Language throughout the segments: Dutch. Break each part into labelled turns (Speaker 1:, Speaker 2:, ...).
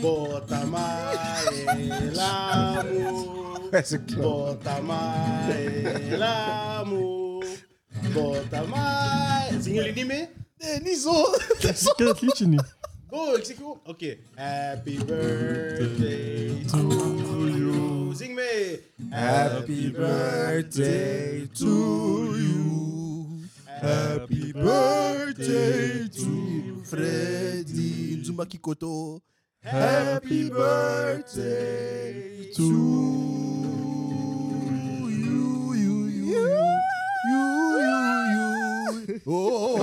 Speaker 1: Bota amarela, amor.
Speaker 2: Parece que é um-
Speaker 1: Bota amarela, amor. Bota amarela. Zinho Linime. Denizou.
Speaker 3: Que Kidney.
Speaker 1: Boa, que cool. Ok. Happy birthday to you. Zing me.
Speaker 2: Happy birthday to you. Happy birthday to Freddy Zumba Kikoto. Happy birthday to you. you, you, you, you, you. Oh.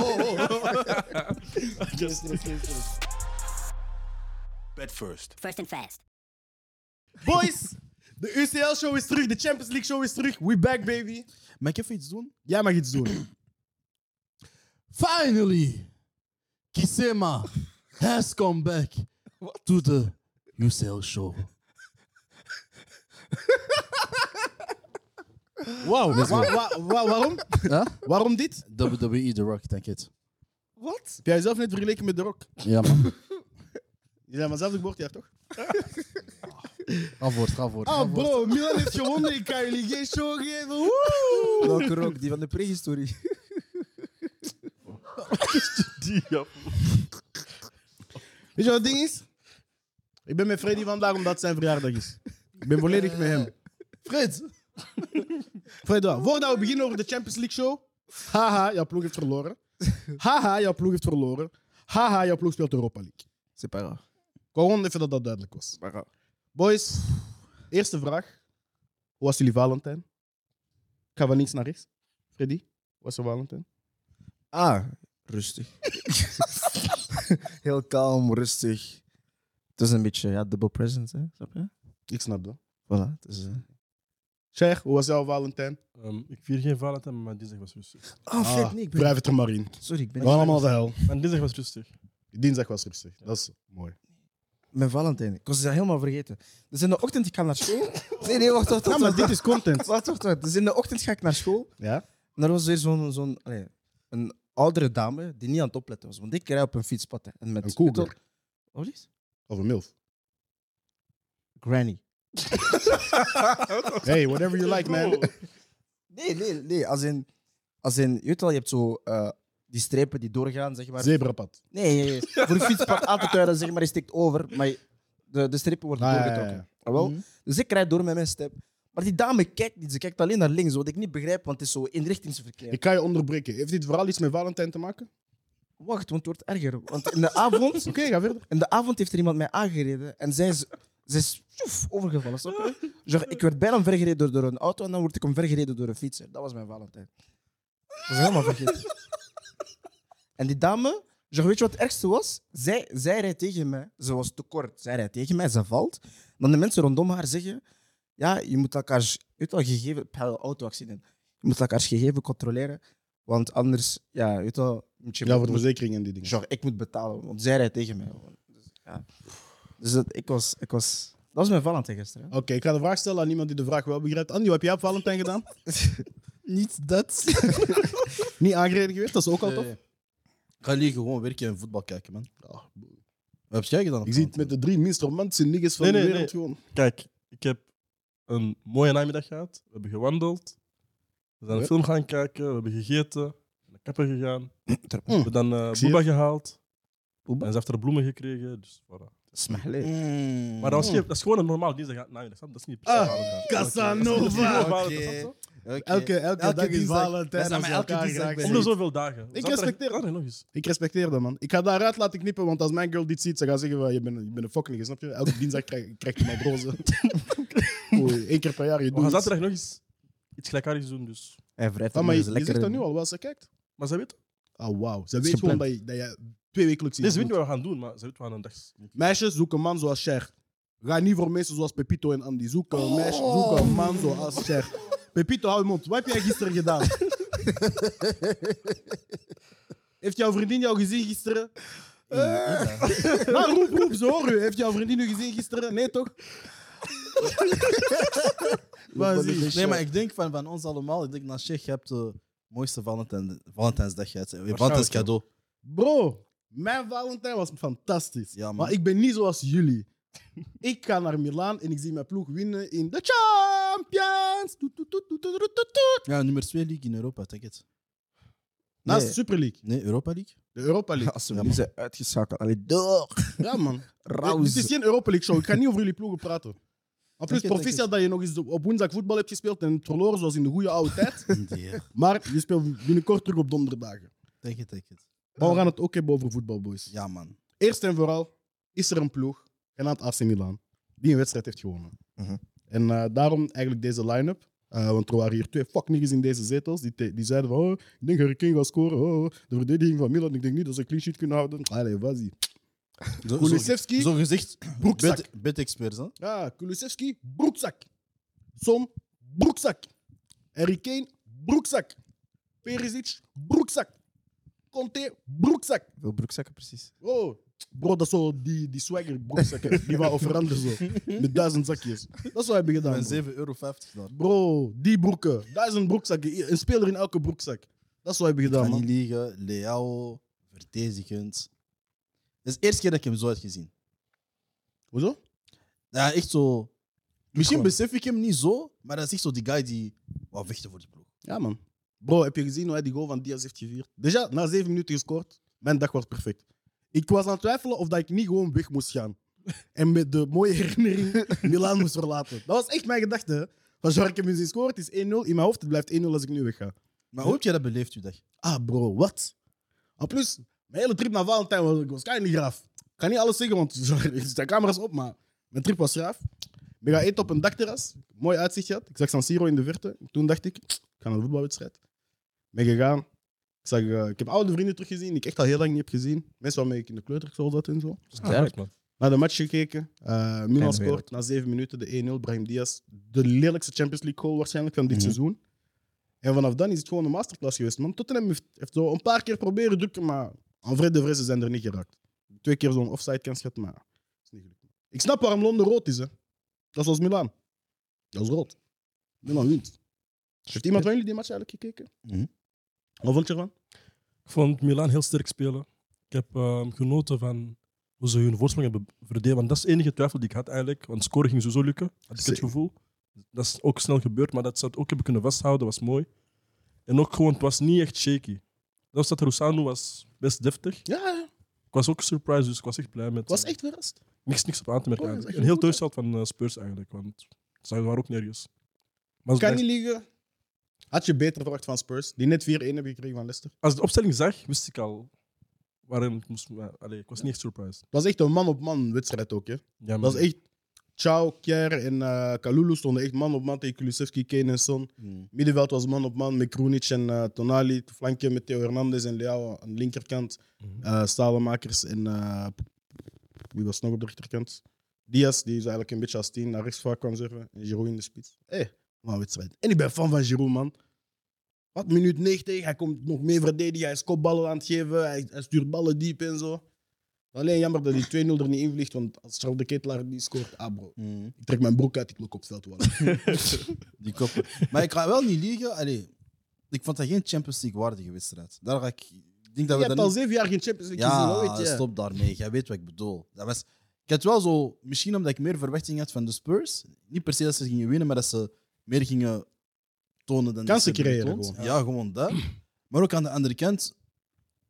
Speaker 2: Bed first.
Speaker 4: First and fast.
Speaker 1: Boys, de UCL-show is terug. De Champions League-show is terug. We back, baby.
Speaker 2: Mag ik even iets doen?
Speaker 1: Jij mag iets doen.
Speaker 2: Finally, Kisema has come back to the UCL show.
Speaker 1: Wow. Wa- wa- wa- waarom?
Speaker 2: Huh?
Speaker 1: Waarom dit?
Speaker 2: WWE E, The Rock, denk het.
Speaker 1: Wat? Heb jij jezelf net vergeleken met The Rock?
Speaker 2: Ja, man.
Speaker 1: Je bent vanzelf geboortejaar, toch?
Speaker 2: Ga voort, ga voort.
Speaker 1: Ah, bro, Milan heeft gewonnen. Ik kan jullie geen show geven.
Speaker 5: Welke rock? Die van de prehistorie.
Speaker 1: Weet je wat het ding is? Ik ben met Freddy vandaag omdat het zijn verjaardag is. Ik ben volledig met hem. Fred! Fred, wat? voordat we beginnen over de Champions League show. Haha, jouw ploeg heeft verloren. Haha, jouw ploeg heeft verloren. Haha, jouw ploeg speelt Europa League.
Speaker 5: C'est pas grave.
Speaker 1: Ik wou gewoon even dat dat duidelijk was.
Speaker 5: Maar, ja.
Speaker 1: Boys, eerste vraag. Hoe was jullie Valentijn? Ik ga van links naar rechts. Freddy, hoe was je Valentijn?
Speaker 5: Ah, rustig. Heel kalm, rustig. Het is een beetje ja, double present, hè? Snap je?
Speaker 1: Ik snap dat.
Speaker 5: Voilà. Het is, eh,
Speaker 1: Cher, hoe was jouw Valentijn?
Speaker 3: Ehm, ik vier geen Valentijn, maar mijn dinsdag was rustig.
Speaker 5: Ah, fuck, nee, ik ben...
Speaker 1: Blijf het er maar in.
Speaker 5: Sorry, ik ben...
Speaker 1: We gaan allemaal de hel.
Speaker 3: Mijn dinsdag was rustig.
Speaker 1: Dinsdag was rustig. Dat is mooi.
Speaker 5: Mijn Valentijn. Ik was dat helemaal vergeten. Dus in de ochtend, ik ga naar school. Nee, nee, wacht, wacht,
Speaker 1: Ja,
Speaker 5: wacht.
Speaker 1: maar
Speaker 5: wacht,
Speaker 1: dit is content.
Speaker 5: wacht, wacht, wacht, wacht. Dus in de ochtend ga ik naar school.
Speaker 1: Ja?
Speaker 5: En daar was weer zo'n... zo'n allee, een oudere dame die niet aan het opletten was. Want ik rij op een fietspad. hè, En met,
Speaker 1: Een cougar.
Speaker 5: Wat is
Speaker 1: Of een milf.
Speaker 5: Granny.
Speaker 1: Hey, whatever you like, man.
Speaker 5: Nee, nee, nee. Als in, als in je weet wel, je hebt zo eh, die strepen die doorgaan, zeg maar.
Speaker 1: Zebrapad.
Speaker 5: Nee, nee, nee. voor een fietspad aan te duiden, zeg maar, je steekt over, maar je- de, de strepen worden
Speaker 1: Ah, ja, Mhm. ja,
Speaker 5: doorgetrokken. Ah, wel? Dus ik rijd door met mijn step. Maar die dame kijkt niet, ze kijkt alleen naar links, wat ik niet begrijp, want het is zo inrichtingsverkeer.
Speaker 1: Ik kan je onderbreken. Heeft dit vooral iets met Valentijn te maken?
Speaker 5: Wacht, want het wordt erger. Want in de avond,
Speaker 1: Oké, ga verder.
Speaker 5: in de avond heeft er iemand mij aangereden en zij is, zij is tjoef, overgevallen, snap je? Genre, ik werd bijna vergereden door, door een auto en dan word ik omvergereden door een fietser. Dat was mijn Valentijn. Dat was helemaal vergeten. En die dame, genre, weet je wat het ergste was? Zij, zij rijdt tegen mij. Ze was te kort. Zij rijdt tegen mij, ze valt. Dan de mensen rondom haar zeggen... Ja, je moet elkaar... Je weet wel, gegeven... Bij een auto-accident. Je moet elkaars gegeven controleren. Want anders... Ja, je weet wel... Moet je
Speaker 1: Ja, voor de verzekering en die dingen.
Speaker 5: Dus Genre, ik moet betalen, want zij rijdt tegen mij. gewoon. Dus, ja. dus dat, ik, was, ik was... Dat was mijn Valentijn gisteren.
Speaker 1: Oké, ik ga de vraag stellen aan iemand die de vraag wel begrijpt. Andy, wat heb jij op Valentijn gedaan?
Speaker 2: Niet dat. Eh,
Speaker 1: Niet aangereden geweest, dat is ook al tof.
Speaker 2: Ik ga hier gewoon werken en voetbal kijken, man. Wat heb jij gedaan? op
Speaker 1: Ik zie het met de drie minst romantische niggas van
Speaker 3: Nee,
Speaker 1: de
Speaker 3: nee,
Speaker 1: wereld gewoon.
Speaker 3: Kijk, ik heb een mooie namiddag gehad. We hebben gewandeld. We zijn een
Speaker 1: Ja.
Speaker 3: film gaan kijken. We hebben gegeten. We zijn naar kapper gegaan. We hebben dan eh
Speaker 1: zie
Speaker 3: boeba gehaald.
Speaker 5: Boeba?
Speaker 3: En ze heeft er bloemen gekregen. Dus voilà.
Speaker 5: Smiley.
Speaker 2: Mm.
Speaker 3: Maar dat, was geen- dat is gewoon een normaal dinsdag namiddag. snap je? Dat is niet per
Speaker 1: Oh.
Speaker 3: se
Speaker 1: Ah,
Speaker 3: Valentijn.
Speaker 1: Casanova.
Speaker 3: Dat is niet gewoon
Speaker 2: Oké.
Speaker 3: Valentijn, snap je?
Speaker 2: Oké.
Speaker 1: Elke, elke,
Speaker 2: Elke
Speaker 1: dag is
Speaker 2: dinsdag. Wij
Speaker 1: Valentijn.
Speaker 2: zijn
Speaker 1: als
Speaker 2: maar
Speaker 1: je
Speaker 2: elke
Speaker 1: elkaar
Speaker 2: dinsdag
Speaker 1: raakt.
Speaker 2: bij
Speaker 3: Om de zoveel dagen.
Speaker 1: Ik respecteer
Speaker 3: dat. nog eens.
Speaker 1: Ik respecteer dat, man. Ik ga daaruit laten knippen, want als mijn girl dit ziet, ze gaat zeggen van, je bent, je bent een fucking, snap je? Elke dinsdag krijg, krijg je mijn broze. Oei, één keer per jaar, je
Speaker 3: We gaan
Speaker 1: doet iets.
Speaker 3: zaterdag nog eens iets gelijkaardigs doen. Dus.
Speaker 5: Hij vrijt
Speaker 1: Ah, maar
Speaker 5: hem
Speaker 1: je,
Speaker 5: eens
Speaker 1: je
Speaker 5: lekker
Speaker 1: zegt dat
Speaker 5: in.
Speaker 1: nu al, wel ze kijkt.
Speaker 3: Maar ze weet,
Speaker 1: Ah, wauw. Ze
Speaker 5: is
Speaker 1: weet gewoon dat je, dat je twee wekelijks
Speaker 3: deze
Speaker 1: iets
Speaker 3: weet niet
Speaker 1: doet.
Speaker 3: wat we gaan doen, maar ze weet wel een dag.
Speaker 1: Meisjes, zoek een man zoals Cher. Ga niet voor mensen zoals Pepito en Andy. Zoek een,
Speaker 2: Oh.
Speaker 1: meisje, zoek een man zoals Cher. Pepito, hou je mond. Wat heb jij gisteren gedaan? Heeft jouw vriendin jou gezien gisteren? Eh. Nou, roep, roep, ze horen u. Heeft jouw vriendin u gezien gisteren? Nee, toch? Waar is die?
Speaker 2: Nee, maar ik denk van, van ons allemaal. Ik denk, Nasheikh, je hebt de mooiste Valentijn, Valentijnsdag. gehad.
Speaker 3: Waarschijnlijk,
Speaker 2: Valentijnscadeau.
Speaker 1: Bro, Mijn Valentijn was fantastisch.
Speaker 6: Ja, man.
Speaker 1: maar ik ben niet zoals jullie. ik ga naar Milaan en ik zie mijn ploeg winnen in de Champions. Toet, toet, toet, toet, toet, toet, toet.
Speaker 2: Ja, nummer 2 league in Europa, denk het.
Speaker 1: Naast
Speaker 6: Nee.
Speaker 1: de Super League,
Speaker 2: Nee, Europa League?
Speaker 1: de Europa League.
Speaker 6: Als ze niet zijn uitgeschakeld. Allee, door.
Speaker 1: ja, man.
Speaker 6: Rauw.
Speaker 1: Dit is geen Europa League show. Ik ga niet over jullie ploegen praten. Maar plus,
Speaker 2: Dank je, dank
Speaker 1: proficiat dat je nog eens op woensdag voetbal hebt gespeeld en het verloren zoals in de goede oude tijd.
Speaker 2: Nee, ja.
Speaker 1: Maar je speelt binnenkort terug op donderdagen.
Speaker 2: denk het, denk het.
Speaker 1: Maar we gaan het ook hebben over voetbal, boys.
Speaker 2: Ja, man.
Speaker 1: Eerst en vooral is er een ploeg, genaamd AC Milan, die een wedstrijd heeft gewonnen.
Speaker 6: Mhm.
Speaker 1: En eh, daarom eigenlijk deze line-up. Eh, want er waren hier twee fuckniggers in deze zetels die, te- die zeiden van oh, ik denk Hurricane gaat scoren. Oh, oh, de verdediging van Milan, ik denk niet dat ze clean sheet kunnen houden. Allee, was
Speaker 2: Zo,
Speaker 1: Kulusevski,
Speaker 2: zo gezegd,
Speaker 1: broekzak.
Speaker 2: bed, bedexperts, hè?
Speaker 1: Ja, Kulusevski, broekzak. Son, broekzak. Harry Kane, broekzak. Perisic, broekzak. Conte, broekzak.
Speaker 6: Wil broekzakken, precies.
Speaker 1: Oh, bro, dat is zo die, die swagger broekzakken. Die wou veranderen zo. Met duizend zakjes. Dat is wat we hebben gedaan.
Speaker 2: Met
Speaker 1: Bro.
Speaker 2: 7,50 euro daar.
Speaker 1: Bro, die broeken. Duizend broekzakken. Een speler in elke broekzak. Dat is wat we hebben gedaan,
Speaker 2: Kan
Speaker 1: man.
Speaker 2: niet liegen. Leao, verdedigend. Het is de eerste keer dat ik hem zo had gezien.
Speaker 1: Hoezo?
Speaker 2: Ja, echt zo. Misschien
Speaker 1: Gewoon.
Speaker 2: besef ik hem niet zo, maar dat is echt zo die guy die wou vechten voor de ploeg.
Speaker 1: Ja, man. Bro, heb je gezien hoe hij die goal van Diaz heeft gevierd? Déjà, na zeven minuten gescoord, mijn dag was perfect. Ik was aan het twijfelen of dat ik niet gewoon weg moest gaan. En met de mooie herinnering Milaan moest verlaten. Dat was echt mijn gedachte. hè. Van, zo, ik heb hem zien scoren, het is 1-0. In mijn hoofd, het blijft 1-0 als ik nu wegga.
Speaker 2: Maar hoe heb jij dat beleefd, u dag?
Speaker 1: Ah, bro, wat? En plus, mijn hele trip naar Valentijn was, was niet graaf. Ik ga niet alles zeggen, want er staan camera's op, maar mijn trip was graaf. We gaan eten op een dakterras. Mooi uitzicht gehad. Ik zag San Siro in de verte. Toen dacht ik, ik ga naar een voetbalwedstrijd. Ben gegaan. Ik, zag, eh, ik heb oude vrienden teruggezien die ik echt al heel lang niet heb gezien. Mensen waarmee ik in de kleuterschool zat en zo.
Speaker 6: Sterk.
Speaker 3: man.
Speaker 1: Naar de match gekeken. Eh Milan
Speaker 6: wereld.
Speaker 1: scoort na zeven minuten de 1-0. Brahim Diaz. De lelijkste Champions League goal waarschijnlijk van dit seizoen. En vanaf dan is het gewoon een masterclass geweest. Man. Tottenham heeft, heeft zo een paar keer proberen drukken, maar aan vrede de Vrij, ze zijn er niet geraakt. Twee keer zo'n offside kans gehad, maar is niet gelukt. Ik snap waarom Londen rood is. Hè. Dat is zoals Milan. Dat is rood. Milan wint. Heeft iemand van jullie die match eigenlijk gekeken?
Speaker 2: Mhm.
Speaker 1: Wat vond je ervan?
Speaker 3: Ik vond Milaan heel sterk spelen. Ik heb ehm, genoten van hoe ze hun voorsprong hebben verdeeld. Want dat is de enige twijfel die ik had eigenlijk. Want scoren ging sowieso lukken, had ik het
Speaker 1: Zeker.
Speaker 3: gevoel. Dat is ook snel gebeurd, maar dat ze het ook hebben kunnen vasthouden, was mooi. En ook gewoon, het was niet echt shaky. Dat was dat Rousanu was best deftig.
Speaker 1: Ja, ja. ik
Speaker 3: Ik was ook surprised, dus ik was echt blij met...
Speaker 1: was
Speaker 3: eh,
Speaker 1: echt verrast.
Speaker 3: niks, niks op aan te merken
Speaker 1: Oh, dat is
Speaker 3: eigenlijk.
Speaker 1: echt
Speaker 3: En heel
Speaker 1: goed, hè?
Speaker 3: thuisveld van eh, Spurs eigenlijk, want ze waren ook nergens. Maar
Speaker 1: Ik
Speaker 3: als,
Speaker 1: kan niet liegen. Had je beter verwacht van Spurs, die net 4-1 hebben gekregen van Leicester.
Speaker 3: als ik de opstelling zag, wist ik al waarin het moest... maar, allee, ik was niet echt surprised.
Speaker 1: Het was echt een man-op-man wedstrijd ook. Hè.
Speaker 3: Ja,
Speaker 1: Dat was echt. Ciao, Kier en eh Kalulu stonden echt man op man tegen Kulusevski, Kane en Son. Middenveld was man op man met Kroenic en eh, Tonali. Flankje met Theo Hernandez en Leao aan de linkerkant.
Speaker 3: Mhm.
Speaker 1: Eh, Stalemakers en. eh, wie was nog op de rechterkant? Diaz, die is eigenlijk een beetje als tien naar rechts vaak kwam zerven. En Giroud in de spits. Hé, hey, een wedstrijd. En ik ben fan van Giroud, man. Wat, minuut 90, hij komt nog mee verdedigen. Hij is kopballen aan het geven. Hij, hij stuurt ballen diep en zo. Alleen jammer dat die 2-0 er niet in vliegt, want als Charles de Ketelaar die scoort, ah bro. Ik trek mijn broek uit, ik loop op het veld. wallah.
Speaker 2: Die koppen. maar ik ga wel niet liegen. Allee, ik vond dat geen Champions League waardige wedstrijd. Daar ga ik. Ik denk dat
Speaker 1: Je
Speaker 2: we
Speaker 1: hebt
Speaker 2: daar
Speaker 1: al
Speaker 2: niet-
Speaker 1: zeven jaar geen Champions League gezien, dat
Speaker 2: Ja,
Speaker 1: weet je.
Speaker 2: stop daarmee. Jij weet wat ik bedoel. Dat was, ik had wel zo, misschien omdat ik meer verwachting had van de Spurs. Niet per se dat ze gingen winnen, maar dat ze meer gingen tonen dan dat
Speaker 1: Kansen
Speaker 2: ze hebben
Speaker 1: creëren
Speaker 2: getoond.
Speaker 1: gewoon.
Speaker 2: Ja, gewoon dat. Maar ook aan de andere kant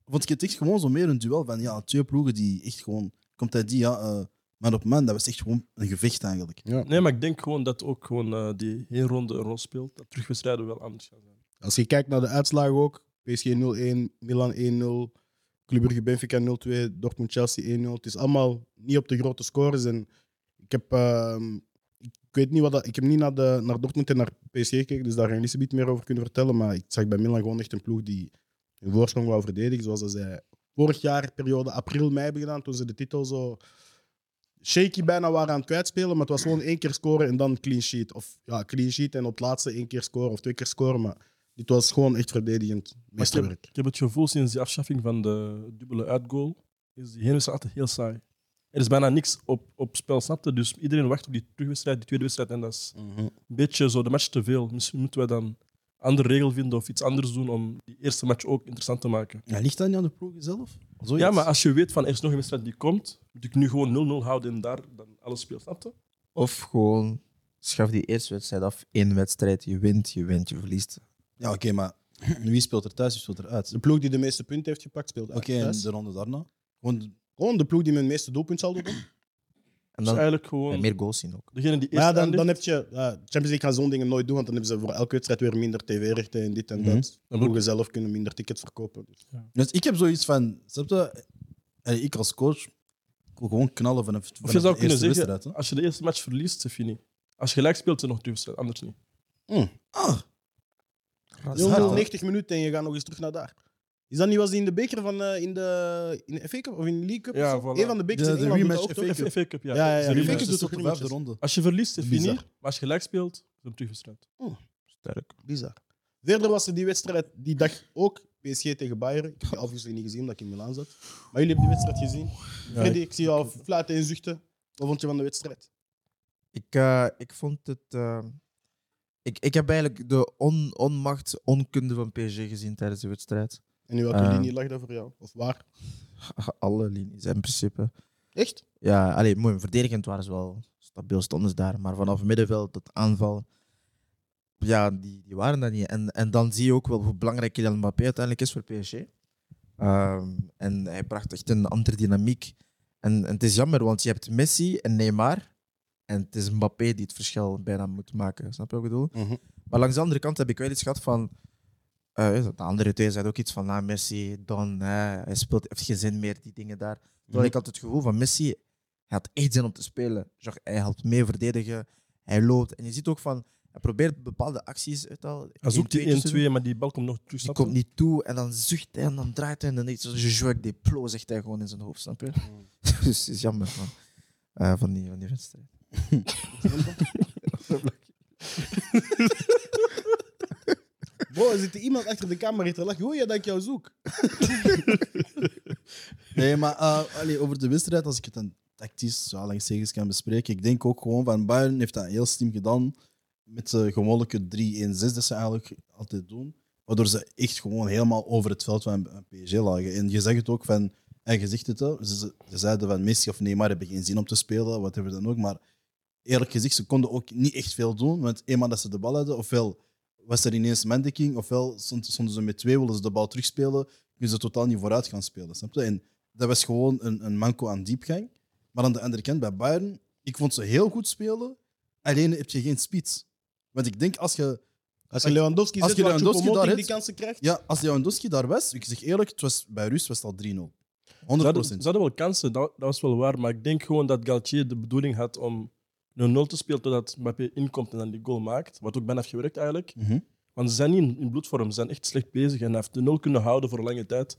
Speaker 2: vond ik het echt gewoon zo meer een duel van ja, twee ploegen die echt gewoon. Komt uit die ja, eh, man op man. Dat was echt gewoon een gevecht eigenlijk.
Speaker 3: Nee, maar ik denk gewoon dat ook gewoon eh, die heenronde ronde een rol speelt. Dat terugwedstrijden wel anders gaan zijn.
Speaker 1: Als je kijkt naar de uitslagen ook. PSG 0-1, Milan 1-0, Club Brugge Benfica 0-2, Dortmund Chelsea 1-0. Het is allemaal niet op de grote scores. En ik heb, ehm, ik weet niet wat dat, ik heb niet naar, de, naar Dortmund en naar PSG gekeken, dus daar ga ik niet meer over kunnen vertellen. Maar ik zag bij Milan gewoon echt een ploeg die hun voorsprong wou verdedigen. Zoals dat zij vorig jaar, periode april-mei hebben gedaan, toen ze de titel zo shaky bijna waren aan het kwijtspelen. Maar het was gewoon één keer scoren en dan clean sheet. Of ja, clean sheet en op het laatste één keer scoren of twee keer scoren. Maar dit was gewoon echt verdedigend
Speaker 3: Maar ik, heb,
Speaker 1: meesterwerk.
Speaker 3: ik heb het gevoel sinds die afschaffing van de dubbele uitgoal is die heenwedstrijd altijd heel saai. Er is bijna niks op, op spel, snapte? Dus iedereen wacht op die terugwedstrijd, die tweede wedstrijd. En dat is een beetje zo de match te veel. Misschien moeten wij dan andere regel vinden of iets anders doen om die eerste match ook interessant te maken.
Speaker 2: Ja, ligt dat niet aan de ploeg zelf? Zoiets.
Speaker 3: Ja, maar als je weet van er is nog een wedstrijd die komt, moet ik nu gewoon 0-0 houden en daar dan alles speelt, snap je?
Speaker 5: Of gewoon schaf die eerste wedstrijd af. Eén wedstrijd, je wint, je wint, je verliest.
Speaker 2: Ja, oké, maar wie speelt er thuis, wie speelt er uit?
Speaker 1: Ah, De
Speaker 2: Oké,
Speaker 1: ploeg die de meeste punten heeft gepakt, speelt uit.
Speaker 2: en
Speaker 1: thuis.
Speaker 2: de ronde daarna? Gewoon,
Speaker 1: Gewoon de ploeg die met het meeste doelpunten zal doen.
Speaker 5: En
Speaker 3: Dus
Speaker 5: dan
Speaker 3: eigenlijk
Speaker 5: en
Speaker 3: gewoon
Speaker 5: meer goals zien ook.
Speaker 3: degene die
Speaker 1: Maar
Speaker 3: eerst
Speaker 1: ja, dan,
Speaker 3: eindigt,
Speaker 1: dan heb je... ja, Champions League gaan zo'n dingen nooit doen, want dan hebben ze voor elke wedstrijd weer minder tv-rechten en dit en
Speaker 2: Mhm.
Speaker 1: dat. De ploegen zelf kunnen minder tickets verkopen. Dus.
Speaker 2: dus ik heb zoiets van, snap je? Allee, Ik als coach ik wil gewoon knallen vanaf, vanaf
Speaker 3: Of je zou
Speaker 2: de
Speaker 3: kunnen
Speaker 2: eerste
Speaker 3: zeggen, ah,
Speaker 2: wedstrijd, hè.
Speaker 3: als je de eerste match verliest, heb je niet. Als je gelijk speelt, zijn nog twee wedstrijden, anders niet.
Speaker 2: Ah,
Speaker 5: Dat is
Speaker 2: Jongen,
Speaker 5: hard,
Speaker 1: 0-0,
Speaker 5: hoor.
Speaker 1: 90 minuten en je gaat nog eens terug naar daar. Is dat niet was die in de beker van eh, in de, in de FA Cup of in de League Cup?
Speaker 3: Ja,
Speaker 1: of zo?
Speaker 3: voilà.
Speaker 1: Een van de bekers
Speaker 2: De-
Speaker 1: in
Speaker 2: de
Speaker 1: Engeland doet
Speaker 2: rematch
Speaker 1: dat ook,
Speaker 2: FA
Speaker 1: toch?
Speaker 2: Cup.
Speaker 3: FA Cup, ja.
Speaker 1: Ja, ja, ja.
Speaker 3: Dus
Speaker 2: de
Speaker 1: Die
Speaker 3: rematch.
Speaker 1: Lakers
Speaker 2: rematch
Speaker 1: doen
Speaker 2: is tot
Speaker 1: toch
Speaker 2: de vijfde
Speaker 1: rematches?
Speaker 2: ronde.
Speaker 3: Als je verliest, heb je
Speaker 1: Bizar.
Speaker 3: niet. Maar als je gelijk speelt, is het een terugwedstrijd.
Speaker 5: Sterk.
Speaker 1: Bizar. Verder was er die wedstrijd die dag ook. PSG tegen Bayern. Ik heb die obviously niet gezien omdat ik in Milaan zat. Maar jullie hebben die wedstrijd gezien. Freddy, ik zie jou al fluiten en zuchten. Wat vond je van de wedstrijd?
Speaker 5: Ik, eh, ik vond het. eh, ik, ik heb eigenlijk de on, onmacht, onkunde van PSG gezien tijdens de wedstrijd.
Speaker 1: En in welke
Speaker 5: Eh.
Speaker 1: linie lag dat voor jou? Of waar?
Speaker 5: Alle linies in principe.
Speaker 1: Echt?
Speaker 5: Ja, alleen mooi. Verdedigend waren ze wel stabiel, stonden ze daar. Maar vanaf middenveld tot aanval. Ja, die, die waren dat niet. En, en dan zie je ook wel hoe belangrijk Kylian Mbappé uiteindelijk is voor PSG. Ehm, en hij bracht echt een andere dynamiek. En, en het is jammer, want je hebt Messi en Neymar. En het is Mbappé die het verschil bijna moet maken. Snap je wat ik bedoel?
Speaker 1: Mhm.
Speaker 5: Maar langs de andere kant heb ik wel iets gehad van. eh, de andere twee zeiden ook iets van, ah, Messi, Don, hè, hij speelt, heeft geen zin meer, die dingen daar. Terwijl ik had het gevoel van Messi, hij had echt zin om te spelen. Genre, hij helpt mee verdedigen, hij loopt. En je ziet ook van, hij probeert bepaalde acties uit al.
Speaker 3: Hij zoekt die 1-2,
Speaker 5: twee
Speaker 3: maar die bal komt nog terug.
Speaker 5: Dus Die
Speaker 3: snap
Speaker 5: komt
Speaker 3: je?
Speaker 5: niet toe en dan zucht hij en dan draait hij en dan iets zo'n Joël Deplo, zegt hij gewoon in zijn hoofd, snap je? dus het is jammer van, eh, van, die, van die wedstrijd.
Speaker 1: Bro, er zit iemand achter de camera te lachen. Hoe je dat ik jou zoek?
Speaker 2: Nee, maar eh, allee, over de wedstrijd, als ik het dan tactisch zo langs zegens kan bespreken, ik denk ook gewoon van Bayern heeft dat heel slim gedaan met de gewoonlijke 3-1-6 dat ze eigenlijk altijd doen, waardoor ze echt gewoon helemaal over het veld van PSG lagen. En je zegt het ook van, en je zegt het al, ze, ze zeiden van Messi of Neymar hebben geen zin om te spelen, wat hebben dan ook, maar eerlijk gezegd, ze konden ook niet echt veel doen, want eenmaal dat ze de bal hadden, ofwel was er ineens mandeking, ofwel stond- stonden ze met twee, wilden ze de bal terugspelen, kunnen ze totaal niet vooruit gaan spelen, snap je? En dat was gewoon een, een manco aan diepgang. Maar aan de andere kant, bij Bayern, ik vond ze heel goed spelen. Alleen heb je geen spits. Want ik denk, als je,
Speaker 1: Als je Lewandowski
Speaker 2: Als
Speaker 1: zit,
Speaker 2: je
Speaker 1: waar
Speaker 2: Lewandowski
Speaker 1: Choupo-Moting
Speaker 2: daar
Speaker 1: die
Speaker 2: hebt-
Speaker 1: kansen krijgt.
Speaker 2: ja, als Lewandowski daar was, ik zeg eerlijk, het was, bij Rus was het al 3-0. 100%.
Speaker 3: Ze hadden, ze hadden wel kansen, dat, dat was wel waar. Maar ik denk gewoon dat Galtier de bedoeling had om 0-0 te spelen totdat Mbappé inkomt en dan die goal maakt. Wat ook bijna heeft gewerkt eigenlijk.
Speaker 2: Mhm.
Speaker 3: Want ze zijn niet in, in bloedvorm, ze zijn echt slecht bezig. En hij heeft de 0 kunnen houden voor een lange tijd.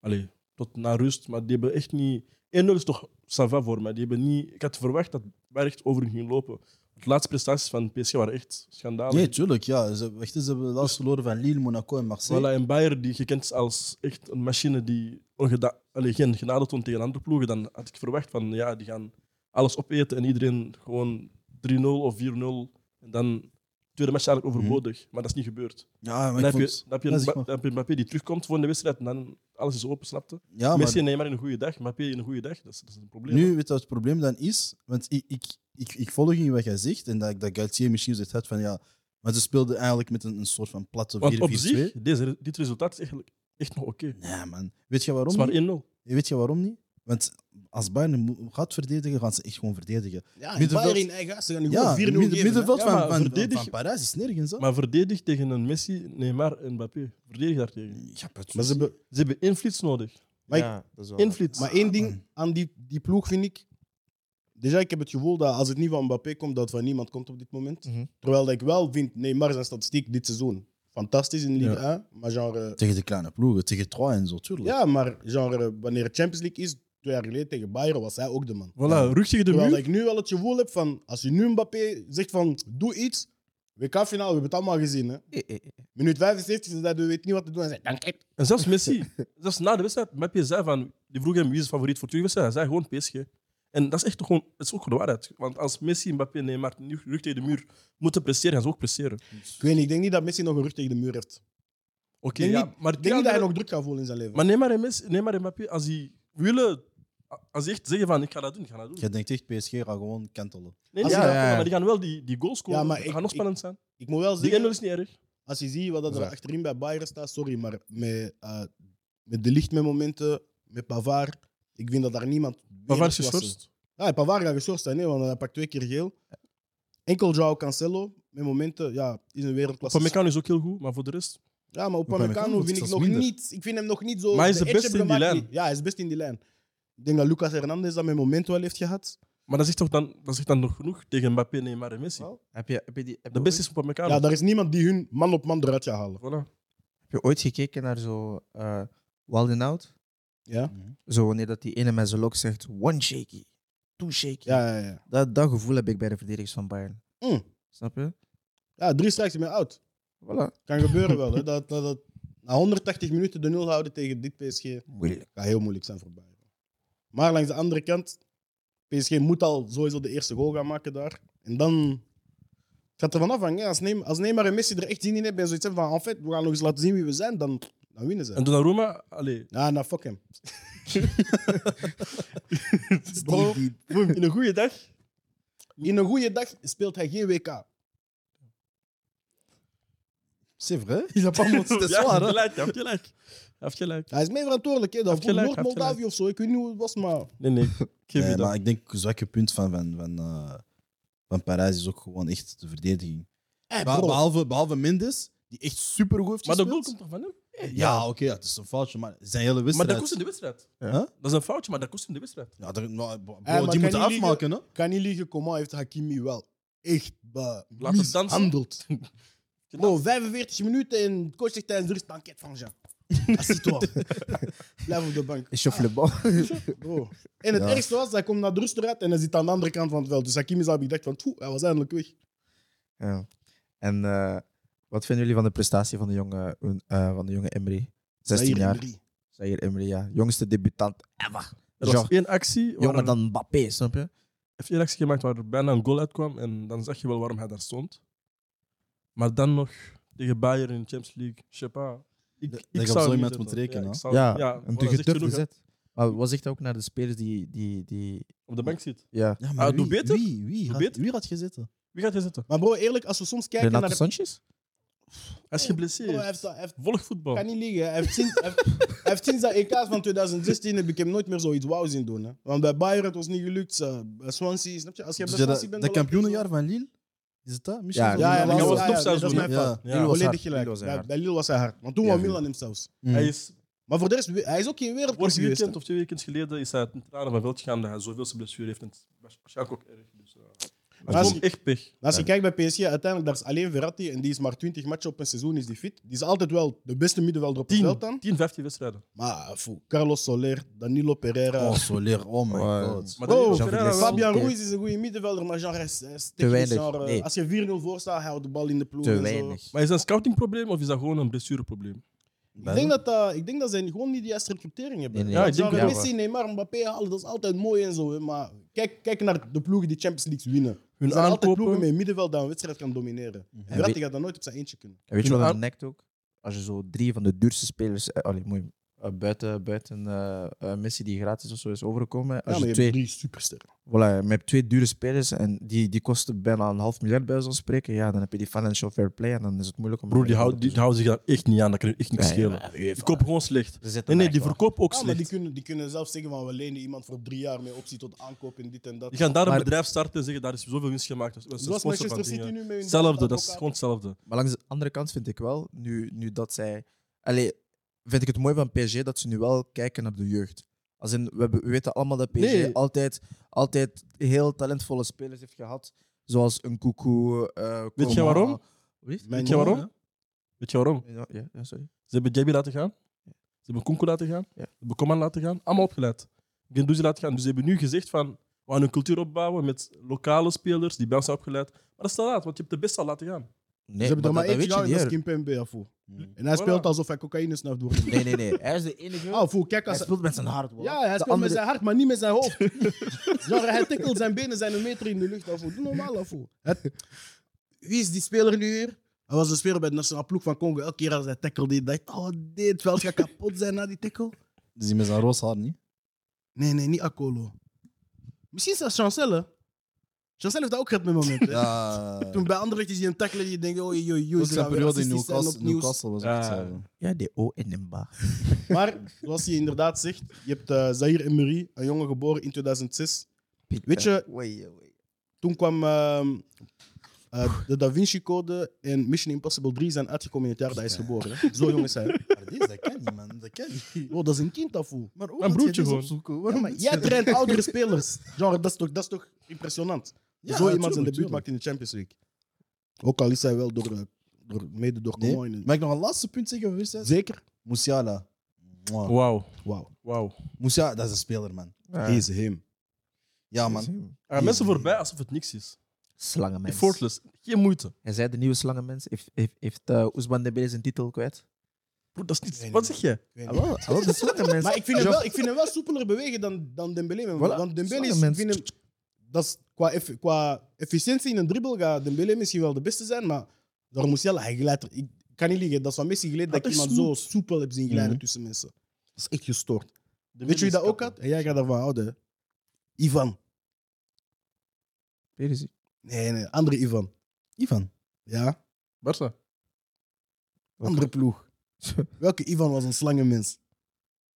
Speaker 3: Allee, tot na rust. Maar die hebben echt niet... 1-0 is toch sava voor mij. Die hebben niet... Ik had verwacht dat wij echt over hun ging lopen. De laatste prestaties van PSG waren echt schandalig.
Speaker 2: Nee, tuurlijk. Ja. Ze, wacht, eens, ze hebben laatst verloren van Lille, Monaco en Marseille.
Speaker 3: Dus- Voilà, en Bayern, die gekend is als echt een machine die ongeda- allee, geen genade toont tegen andere ploegen, dan had ik verwacht van ja, die gaan alles opeten en iedereen gewoon 3-0 of 4-0. En dan tweede match eigenlijk overbodig, maar dat is niet gebeurd.
Speaker 2: Ja, Mhm. maar
Speaker 3: Dan
Speaker 2: ik
Speaker 3: heb,
Speaker 2: vond,
Speaker 3: je, dan heb je
Speaker 2: dat is
Speaker 3: een Mba-
Speaker 2: waar.
Speaker 3: dan heb je Mbappé die terugkomt voor de wedstrijd en dan alles is open, snapte.
Speaker 2: ja, maar
Speaker 3: Messi en Neymar in een goede dag, Mbappé in een goede dag, dat is, dat is een probleem.
Speaker 2: nu weet je wat het probleem dan is. Want ik, ik, ik, ik volg in wat jij zegt. En dat, ik- dat Galtier misschien zoiets had van ja. Maar ze speelden eigenlijk met een, een soort van platte 4-4-2.
Speaker 3: Want op zich, deze, dit resultaat is eigenlijk echt nog oké.
Speaker 2: Nee, man. Weet je waarom?
Speaker 3: Het is maar
Speaker 2: niet?
Speaker 3: 1-0.
Speaker 2: En Weet je waarom niet? Want als Bayern mo- gaat verdedigen, gaan ze echt gewoon verdedigen.
Speaker 1: Ja, en
Speaker 2: Middenveld-
Speaker 1: Bayern in eigen huis. Ze gaan nu
Speaker 2: Ja,
Speaker 1: gewoon 4-0
Speaker 2: midden,
Speaker 1: geven. hè.
Speaker 2: middenveld
Speaker 3: Ja,
Speaker 2: van,
Speaker 3: maar
Speaker 2: van,
Speaker 3: verdedig-
Speaker 2: van Parijs is nergens. Hè?
Speaker 3: Maar verdedig tegen een Messi, Neymar en Mbappé. Verdedig daartegen.
Speaker 2: ja,
Speaker 1: Maar, ze hebben-
Speaker 3: Ze hebben invloed nodig.
Speaker 1: Maar ik-
Speaker 5: ja, dat is wel
Speaker 3: Invloed.
Speaker 1: maar één ding aan die, die ploeg vind ik. Déjà, ik heb het gevoel dat als het niet van Mbappé komt, dat het van niemand komt op dit moment.
Speaker 5: Mhm.
Speaker 1: Terwijl dat ik wel vind, Neymar zijn statistiek dit seizoen fantastisch in Ligue
Speaker 3: Ja.
Speaker 1: 1. Maar genre,
Speaker 2: Tegen de kleine ploegen, tegen Troyes en zo, tuurlijk.
Speaker 1: ja, maar genre, wanneer het Champions League is, twee jaar geleden tegen Bayern, was hij ook de man.
Speaker 3: Voilà, rug tegen de
Speaker 1: Terwijl
Speaker 3: muur.
Speaker 1: dat ik nu wel het gevoel heb van, als je nu Mbappé zegt van, doe iets, WK-finale, we hebben het allemaal gezien. Hè.
Speaker 5: Eh,
Speaker 1: Minuut 75, ze zeiden, we weten niet wat te doen. Hij zei, dank je.
Speaker 3: En zelfs Messi, zelfs na de wedstrijd, Mbappé zei van, die vroeg hem wie is favoriet voor twee wedstrijden. Hij zei gewoon PSG. En dat is echt gewoon, dat is ook de waarheid. Want als Messi, Mbappé en Neymar nu rug tegen de muur moeten presteren, gaan ze ook presteren.
Speaker 1: Ik weet niet, ik denk niet dat Messi nog een rug tegen de muur heeft.
Speaker 3: Oké,
Speaker 1: denk
Speaker 3: ja,
Speaker 1: niet- Ik
Speaker 3: maar die
Speaker 1: denk niet dat hij
Speaker 3: anderen-
Speaker 1: nog druk gaat voelen in zijn leven.
Speaker 3: Maar Neymar en, Messi, Neymar en Mbappé, als die willen, als die echt zeggen van ik ga dat doen, ik ga dat doen.
Speaker 2: Je denkt echt, PSG gaat gewoon kantelen.
Speaker 3: Nee,
Speaker 1: Als
Speaker 3: die
Speaker 1: ja,
Speaker 3: gaan-
Speaker 5: ja, ja.
Speaker 3: maar die gaan wel die, die goals scoren.
Speaker 1: Ja, maar
Speaker 3: het
Speaker 1: ik-
Speaker 3: gaat nog
Speaker 1: ik-
Speaker 3: spannend zijn.
Speaker 1: ik moet wel
Speaker 3: Die 1-0
Speaker 1: zeggen,
Speaker 3: is niet erg.
Speaker 1: als je ziet wat dat er
Speaker 2: Ja.
Speaker 1: achterin bij Bayern staat, sorry, maar met, eh, met de licht met momenten, met Pavard, ik vind dat daar niemand...
Speaker 3: Maar waar
Speaker 1: meer
Speaker 3: is
Speaker 1: was.
Speaker 3: geschorst?
Speaker 1: Ja, Pavard gaat geschorst zijn, nee, want hij pakt twee keer geel. Enkel Joao Cancelo, met momenten, ja, is een wereldklasse.
Speaker 3: Upamecano is ook heel goed, maar voor de rest...
Speaker 1: Ja, maar
Speaker 2: Upamecano
Speaker 1: Upamecano
Speaker 2: wordt
Speaker 1: vind ik
Speaker 2: zelfs
Speaker 1: nog
Speaker 2: minder.
Speaker 1: niet... Ik vind hem nog niet zo...
Speaker 3: Maar hij is de
Speaker 1: edge
Speaker 3: beste
Speaker 1: hebben
Speaker 3: in die
Speaker 1: gemaakt
Speaker 3: lijn.
Speaker 1: niet. Ja, hij is best in die lijn. Ik denk dat Lucas Hernandez dat met momenten wel heeft gehad.
Speaker 3: Maar dat zegt toch dan, dat zegt dan nog genoeg tegen Mbappé, Neymar en Messi.
Speaker 1: Wel.
Speaker 5: Heb je, heb, je die, heb,
Speaker 3: De
Speaker 5: je
Speaker 3: beste
Speaker 5: ooit,
Speaker 3: is Upamecano.
Speaker 1: Ja, daar is niemand die hun man op man eruit gaat halen.
Speaker 3: Voilà.
Speaker 5: heb je ooit gekeken naar zo eh Wild and Out? Mhm.
Speaker 1: Ja?
Speaker 5: Zo wanneer dat die ene met zijn lok zegt, one shaky, two shaky.
Speaker 1: Ja, ja, ja.
Speaker 5: Dat, dat gevoel heb ik bij de verdedigers van Bayern.
Speaker 1: Mm.
Speaker 5: Snap je?
Speaker 1: Ja, drie straks ben je oud.
Speaker 5: Voilà.
Speaker 1: Kan gebeuren wel. Hè. Dat, dat, dat, na 180 minuten de nul houden tegen dit PSG
Speaker 5: Moeilijk.
Speaker 1: gaat heel moeilijk zijn voor Bayern. Maar langs de andere kant, PSG moet al sowieso de eerste goal gaan maken daar. En dan het gaat er vanaf hangen. hè. Als Neymar, als Neymar en Messi er echt zin in hebben en zoiets hebben van, "Ah, en fait, we gaan nog eens laten zien wie we zijn, dan, dan winnen ze.
Speaker 3: En Donnarumma, allee,
Speaker 1: Ja, nou fuck hem.
Speaker 3: Bro, boem, in een goede dag.
Speaker 1: In een goede dag speelt hij geen WK.
Speaker 2: C'est vrai? Il a pas monté, c'est
Speaker 3: Ja,
Speaker 2: soir.
Speaker 3: je hebt gelijk, je hebt gelijk. Je hebt gelijk.
Speaker 1: Hij is mee verantwoordelijk. Hè. Dat
Speaker 3: Heb je
Speaker 1: voor
Speaker 3: gelijk, heb je
Speaker 1: Noord-Moldavië of zo. Ik weet niet hoe het was, maar...
Speaker 3: Nee, nee, ik geef je
Speaker 2: Nee,
Speaker 3: dat.
Speaker 2: maar ik denk het zwakke punt van, van, van, eh, van Parijs is ook gewoon echt de verdediging.
Speaker 3: Eh,
Speaker 1: Hey,
Speaker 2: Be-
Speaker 1: bro.
Speaker 2: behalve, behalve Mendes, die echt supergoed heeft
Speaker 3: Maar de goal
Speaker 2: gespeeld.
Speaker 3: komt toch van hem?
Speaker 2: Ja, oké, ja, het is een foutje, maar zijn hele
Speaker 3: Maar
Speaker 2: wedstrijd...
Speaker 3: dat kost in de wedstrijd. Dat is een foutje, maar dat kost in de wedstrijd.
Speaker 2: Ja, daar- nou, bro,
Speaker 1: maar
Speaker 2: die
Speaker 1: kan
Speaker 2: moeten
Speaker 1: niet liegen.
Speaker 2: afmaken, hè?
Speaker 1: Ik kan niet liegen, Coman heeft Hakimi wel echt be-
Speaker 3: dansen.
Speaker 1: mishandeld. Bro, 45 minuten en coach zegt tijdens de rust banket van Jean. Assis-toi. Blijf op de bank.
Speaker 5: Is je bal.
Speaker 1: Bro. En het
Speaker 2: Ja.
Speaker 1: ergste was, hij komt naar de rust eruit en hij zit aan de andere kant van het veld. Dus Hakimi zou hebben gedacht van, "Toe, hij was eindelijk weg.
Speaker 5: Ja. En eh, wat vinden jullie van de prestatie van de jonge, eh, van de jonge Emery? 16
Speaker 1: Zaire
Speaker 5: jaar.
Speaker 1: Emery.
Speaker 5: Zaire Emery, ja. Jongste debutant ever.
Speaker 3: Er was één actie, waar
Speaker 5: Jonger
Speaker 3: er-
Speaker 5: dan Mbappé, snap je?
Speaker 3: heeft één actie gemaakt waar er bijna een goal uitkwam. En dan zag je wel waarom hij daar stond. Maar dan nog tegen Bayern in de Champions League. Je sais pas. Ik,
Speaker 2: Dat-
Speaker 3: ik
Speaker 2: dat je op
Speaker 3: zou
Speaker 2: zo
Speaker 3: niet
Speaker 2: iemand
Speaker 3: zetten.
Speaker 2: moet rekenen,
Speaker 3: Ja, ik
Speaker 2: hè?
Speaker 3: zou-
Speaker 5: Ja,
Speaker 3: Oh, ja,
Speaker 5: en
Speaker 3: voilà, dus zegt
Speaker 5: tegen durf
Speaker 3: genoeg, hè.
Speaker 5: gezet. Maar wat zegt ook naar de spelers die... die, die
Speaker 3: Op de bank zit.
Speaker 5: ja.
Speaker 2: Ja,
Speaker 3: Ah, doe beter?
Speaker 2: Wie, wie, had,
Speaker 3: beter?
Speaker 2: wie had gezeten?
Speaker 3: Wie gaat hij zitten?
Speaker 1: Maar bro, eerlijk, als we soms kijken
Speaker 5: Renato
Speaker 1: naar...
Speaker 5: Sanchez?
Speaker 3: Oh, Hij is
Speaker 1: Bro, hij
Speaker 3: geblesseerd.
Speaker 1: heeft- hij heeft
Speaker 3: Volg voetbal.
Speaker 1: Ik kan niet liegen. Hij heeft sinds, hij heeft- hij heeft sinds dat EK van 2016 heb ik hem nooit meer zoiets wauw zien doen. Hè. Want bij Bayern het was niet gelukt. eh, bij Swansea, snap je? Als je
Speaker 2: Dus
Speaker 1: bij Swansea
Speaker 2: je dat,
Speaker 1: bent...
Speaker 2: dat
Speaker 1: wel even
Speaker 2: kampioenenjaar
Speaker 1: zo-
Speaker 2: van Lille? Is het dat? Oh,
Speaker 5: Ja,
Speaker 1: Ja, ja,
Speaker 3: Hij
Speaker 1: dat
Speaker 3: was
Speaker 1: was, ja, ja,
Speaker 3: dopsaus
Speaker 1: dat is
Speaker 3: doen,
Speaker 1: mijn
Speaker 2: hè?
Speaker 1: fout.
Speaker 3: Ja.
Speaker 1: Ja, volledig
Speaker 5: Lille
Speaker 1: gelijk.
Speaker 5: was hij
Speaker 1: Bij,
Speaker 5: hard.
Speaker 1: bij Lille was hij hard. Maar toen
Speaker 5: Ja,
Speaker 1: wou
Speaker 5: ja.
Speaker 1: Milan hem zelfs.
Speaker 3: Hij
Speaker 2: Mm.
Speaker 3: is
Speaker 1: Maar voor de rest, hij is ook geen wereldklas
Speaker 3: Vorig
Speaker 1: geweest.
Speaker 3: weekend of twee weekends geleden is hij ten tranen van veld gegaan dat hij zoveel blessure heeft. En het was waarschijnlijk ook erg. Dus, eh, maar
Speaker 1: als-
Speaker 3: het is echt pech.
Speaker 1: hè. Als je kijkt bij PSG, uiteindelijk daar is alleen Verratti en die is maar 20 matchen op een seizoen is die fit. Die is altijd wel de beste middenvelder op het veld
Speaker 3: 10,
Speaker 1: dan.
Speaker 3: 10 15 wedstrijden.
Speaker 1: Maar eh, foe, Carlos Soler, Danilo Pereira.
Speaker 2: Oh, Soler, oh my
Speaker 5: Oh,
Speaker 2: god.
Speaker 3: Maar
Speaker 1: Bro,
Speaker 3: Danilo
Speaker 5: Jean
Speaker 3: Ferreira
Speaker 5: Villas.
Speaker 3: wel-
Speaker 1: Fabian
Speaker 5: Oké.
Speaker 1: Ruiz is een goede middenvelder, maar genre, hij is- hij is
Speaker 5: Te
Speaker 1: technisch
Speaker 5: weinig,
Speaker 1: genre, eh,
Speaker 5: nee.
Speaker 1: Als je 4-0 voor staat, hij houdt de bal in de ploeg.
Speaker 5: Te
Speaker 1: en
Speaker 5: weinig.
Speaker 3: maar is dat een scoutingprobleem of is dat gewoon een blessureprobleem?
Speaker 1: Zo. Ik, denk dat, dat- ik denk dat ze gewoon niet de juiste recrutering hebben.
Speaker 5: Nee, nee.
Speaker 3: Ja, ik denk
Speaker 1: Genre,
Speaker 3: het wel.
Speaker 1: Messi, Neymar, Mbappé halen, dat is altijd mooi en zo. hè, Maar kijk, kijk naar de ploegen die Champions League winnen.
Speaker 3: Hun
Speaker 1: Er zijn altijd ploegen
Speaker 3: aankopen,
Speaker 1: met een middenveld dat een wedstrijd kan domineren.
Speaker 5: Mhm.
Speaker 1: En Verratti gaat dat nooit op zijn eentje kunnen.
Speaker 5: En weet je
Speaker 3: Toen
Speaker 5: wat
Speaker 3: Ar-
Speaker 5: dat nekt ook? Als je zo drie van de duurste spelers, eh, allee, moei, eh, buiten, buiten eh, eh, Messi die gratis of zo is overgekomen,
Speaker 1: Ja,
Speaker 5: als
Speaker 1: maar
Speaker 5: je,
Speaker 1: je
Speaker 5: twee,
Speaker 1: hebt drie supersterren.
Speaker 5: voilà, je hebt twee dure spelers en die, die kosten bijna een half miljard bij ons spreken, ja, dan heb je die financial fair play en dan is het moeilijk om...
Speaker 3: broer, die houden die, die houden zich daar echt niet aan. Dat kan je echt niks schelen. Die kopen gewoon slecht. Nee, nee, die verkopen ook
Speaker 1: Ja, maar die
Speaker 3: slecht.
Speaker 1: kunnen, die kunnen zelf zeggen van we lenen iemand voor drie jaar met optie tot aankoop en dit en dat.
Speaker 3: Die gaan daar een
Speaker 5: Maar-
Speaker 3: bedrijf starten en zeggen daar is zoveel winst gemaakt. Dat is- dat is een
Speaker 1: Zoals
Speaker 3: sponsor van
Speaker 1: Manchester City
Speaker 3: dingen.
Speaker 1: nu met hun
Speaker 3: Hetzelfde, dat is
Speaker 1: advocaat.
Speaker 3: gewoon hetzelfde.
Speaker 5: Maar langs de andere kant vind ik wel, nu, nu dat zij. Allee, vind ik het mooi van PSG dat ze nu wel kijken naar de jeugd. Als in, we, hebben- we weten allemaal dat PSG
Speaker 3: Nee.
Speaker 5: altijd, altijd heel talentvolle spelers heeft gehad. Zoals een Koekoe. eh
Speaker 3: Weet je
Speaker 5: Coman.
Speaker 3: waarom?
Speaker 5: Weet je?
Speaker 1: Mijn
Speaker 3: Weet je waarom?
Speaker 1: jongen,
Speaker 3: Weet je waarom?
Speaker 5: Ja, ja, ja, sorry.
Speaker 3: Ze hebben Jabby laten gaan. Ze hebben Kunku laten gaan.
Speaker 5: Ja.
Speaker 3: Ze hebben Coman laten gaan. Allemaal opgeleid. Gendouzi laten gaan. Dus ze hebben nu gezegd van... We gaan een cultuur opbouwen met lokale spelers die bij ons zijn opgeleid. Maar dat is te laat, want je hebt de beste al laten gaan.
Speaker 1: Ze
Speaker 5: Nee,
Speaker 1: hebben er maar
Speaker 5: dat- dat
Speaker 1: eentje
Speaker 5: weet je
Speaker 1: gehouden,
Speaker 5: niet,
Speaker 1: dat is Kim
Speaker 5: hoor.
Speaker 1: Pembe, afvoer. En hij
Speaker 3: Voilà.
Speaker 1: speelt alsof hij cocaïne snaft door.
Speaker 5: Nee, nee, nee. Hij is de enige.
Speaker 1: Ah, voel, kijk
Speaker 5: hij
Speaker 1: als...
Speaker 5: speelt met zijn hart. bro.
Speaker 1: Ja, hij speelt
Speaker 5: de andere,
Speaker 1: met zijn hart, maar niet met zijn hoofd. Genre, hij tikkelt zijn benen, zijn een meter in de lucht. Afvoer. Doe normaal, afvoer. Het- Wie is die speler nu weer? Hij was een speler bij de nationale ploeg van Congo. Elke keer als hij tackelde, hij dacht oh, dit veld gaat kapot zijn na die tackle.
Speaker 2: Dus die met zijn roze haar niet.
Speaker 1: Nee, nee, niet Akolo. Misschien zelfs Chancel, hè? Chancel heeft dat ook gehad met momenten. hè.
Speaker 2: Ja,
Speaker 1: Toen bij Anderlecht is hij een tackle die je denkt, oh, joh, joh,
Speaker 2: ook
Speaker 1: ze
Speaker 2: zijn
Speaker 1: gaan weer
Speaker 2: periode in
Speaker 1: racistisch zijn
Speaker 2: Newcastle,
Speaker 1: opnieuw.
Speaker 2: Newcastle was ook
Speaker 3: Ja.
Speaker 2: hetzelfde.
Speaker 5: Ja, de O en een ba.
Speaker 1: Maar, zoals hij inderdaad zegt, je hebt eh Zahir Emery, een jongen geboren in 2006. Weet je, toen kwam ehm, eh, de Da Vinci Code en Mission Impossible 3 zijn uitgekomen in het jaar dat hij is geboren. hè. Zo jong is hij.
Speaker 2: Maar deze, dat kan niet, man. Dat kan niet.
Speaker 1: Oh, dat is een kind, afvoer.
Speaker 2: Maar ook
Speaker 3: Mijn
Speaker 2: dat
Speaker 3: broertje
Speaker 2: je dit
Speaker 3: gewoon.
Speaker 2: opzoeken,
Speaker 1: Ja,
Speaker 2: Waarom
Speaker 1: maar
Speaker 2: doet
Speaker 1: jij
Speaker 2: je dat?
Speaker 1: traint oudere spelers. Genre, dat is toch, dat is toch impressionant. Zo
Speaker 2: Ja,
Speaker 1: iemand
Speaker 2: tuurlijk,
Speaker 1: zijn debuut
Speaker 2: tuurlijk.
Speaker 1: maakt in de Champions League. Ook al is hij wel door, eh, door, mede door
Speaker 2: Nee,
Speaker 1: Comoine.
Speaker 2: Mag ik nog een laatste punt zeggen over wedstrijd?
Speaker 1: Zeker?
Speaker 2: Musiala. Mwah.
Speaker 3: Wauw.
Speaker 1: Wauw.
Speaker 3: Wauw. Eh,
Speaker 2: Musiala, dat is een speler, man.
Speaker 1: Hij is hem.
Speaker 2: Ja, man.
Speaker 3: Er gaan mensen voorbij alsof het niks is.
Speaker 5: Slangenmens.
Speaker 3: Effortless. Geen moeite.
Speaker 5: Hij zei de nieuwe slangenmens. Heeft, heeft, heeft eh, Ousmane Dembélé zijn titel kwijt?
Speaker 3: Broer, dat is niet... Wat zeg jij?
Speaker 5: Hallo, hallo, de slangenmens.
Speaker 1: Maar ik vind, hem wel, ik vind hem wel soepeler bewegen dan, dan Dembélé. man.
Speaker 5: Voilà.
Speaker 1: Want Dembélé is,
Speaker 5: Sommige
Speaker 1: ik vind hem, dat is, qua, eff- qua efficiëntie in een dribbel gaat Dembélé misschien wel de beste zijn, maar daar moest hij hij glijdt er- Ik kan niet liegen, dat is van Messi geleden dat,
Speaker 3: Dat
Speaker 1: ik
Speaker 3: is
Speaker 1: iemand zo soepel heb zien glijden tussen mensen. Dat is echt gestoord. Weet je wie dat ook had? En jij gaat daarvan houden. hè? Ivan.
Speaker 5: Hier is hij.
Speaker 1: Nee, nee, andere Ivan.
Speaker 2: Ivan.
Speaker 1: Ja,
Speaker 3: Barca.
Speaker 1: andere ploeg. Welke Ivan was een slangenmens?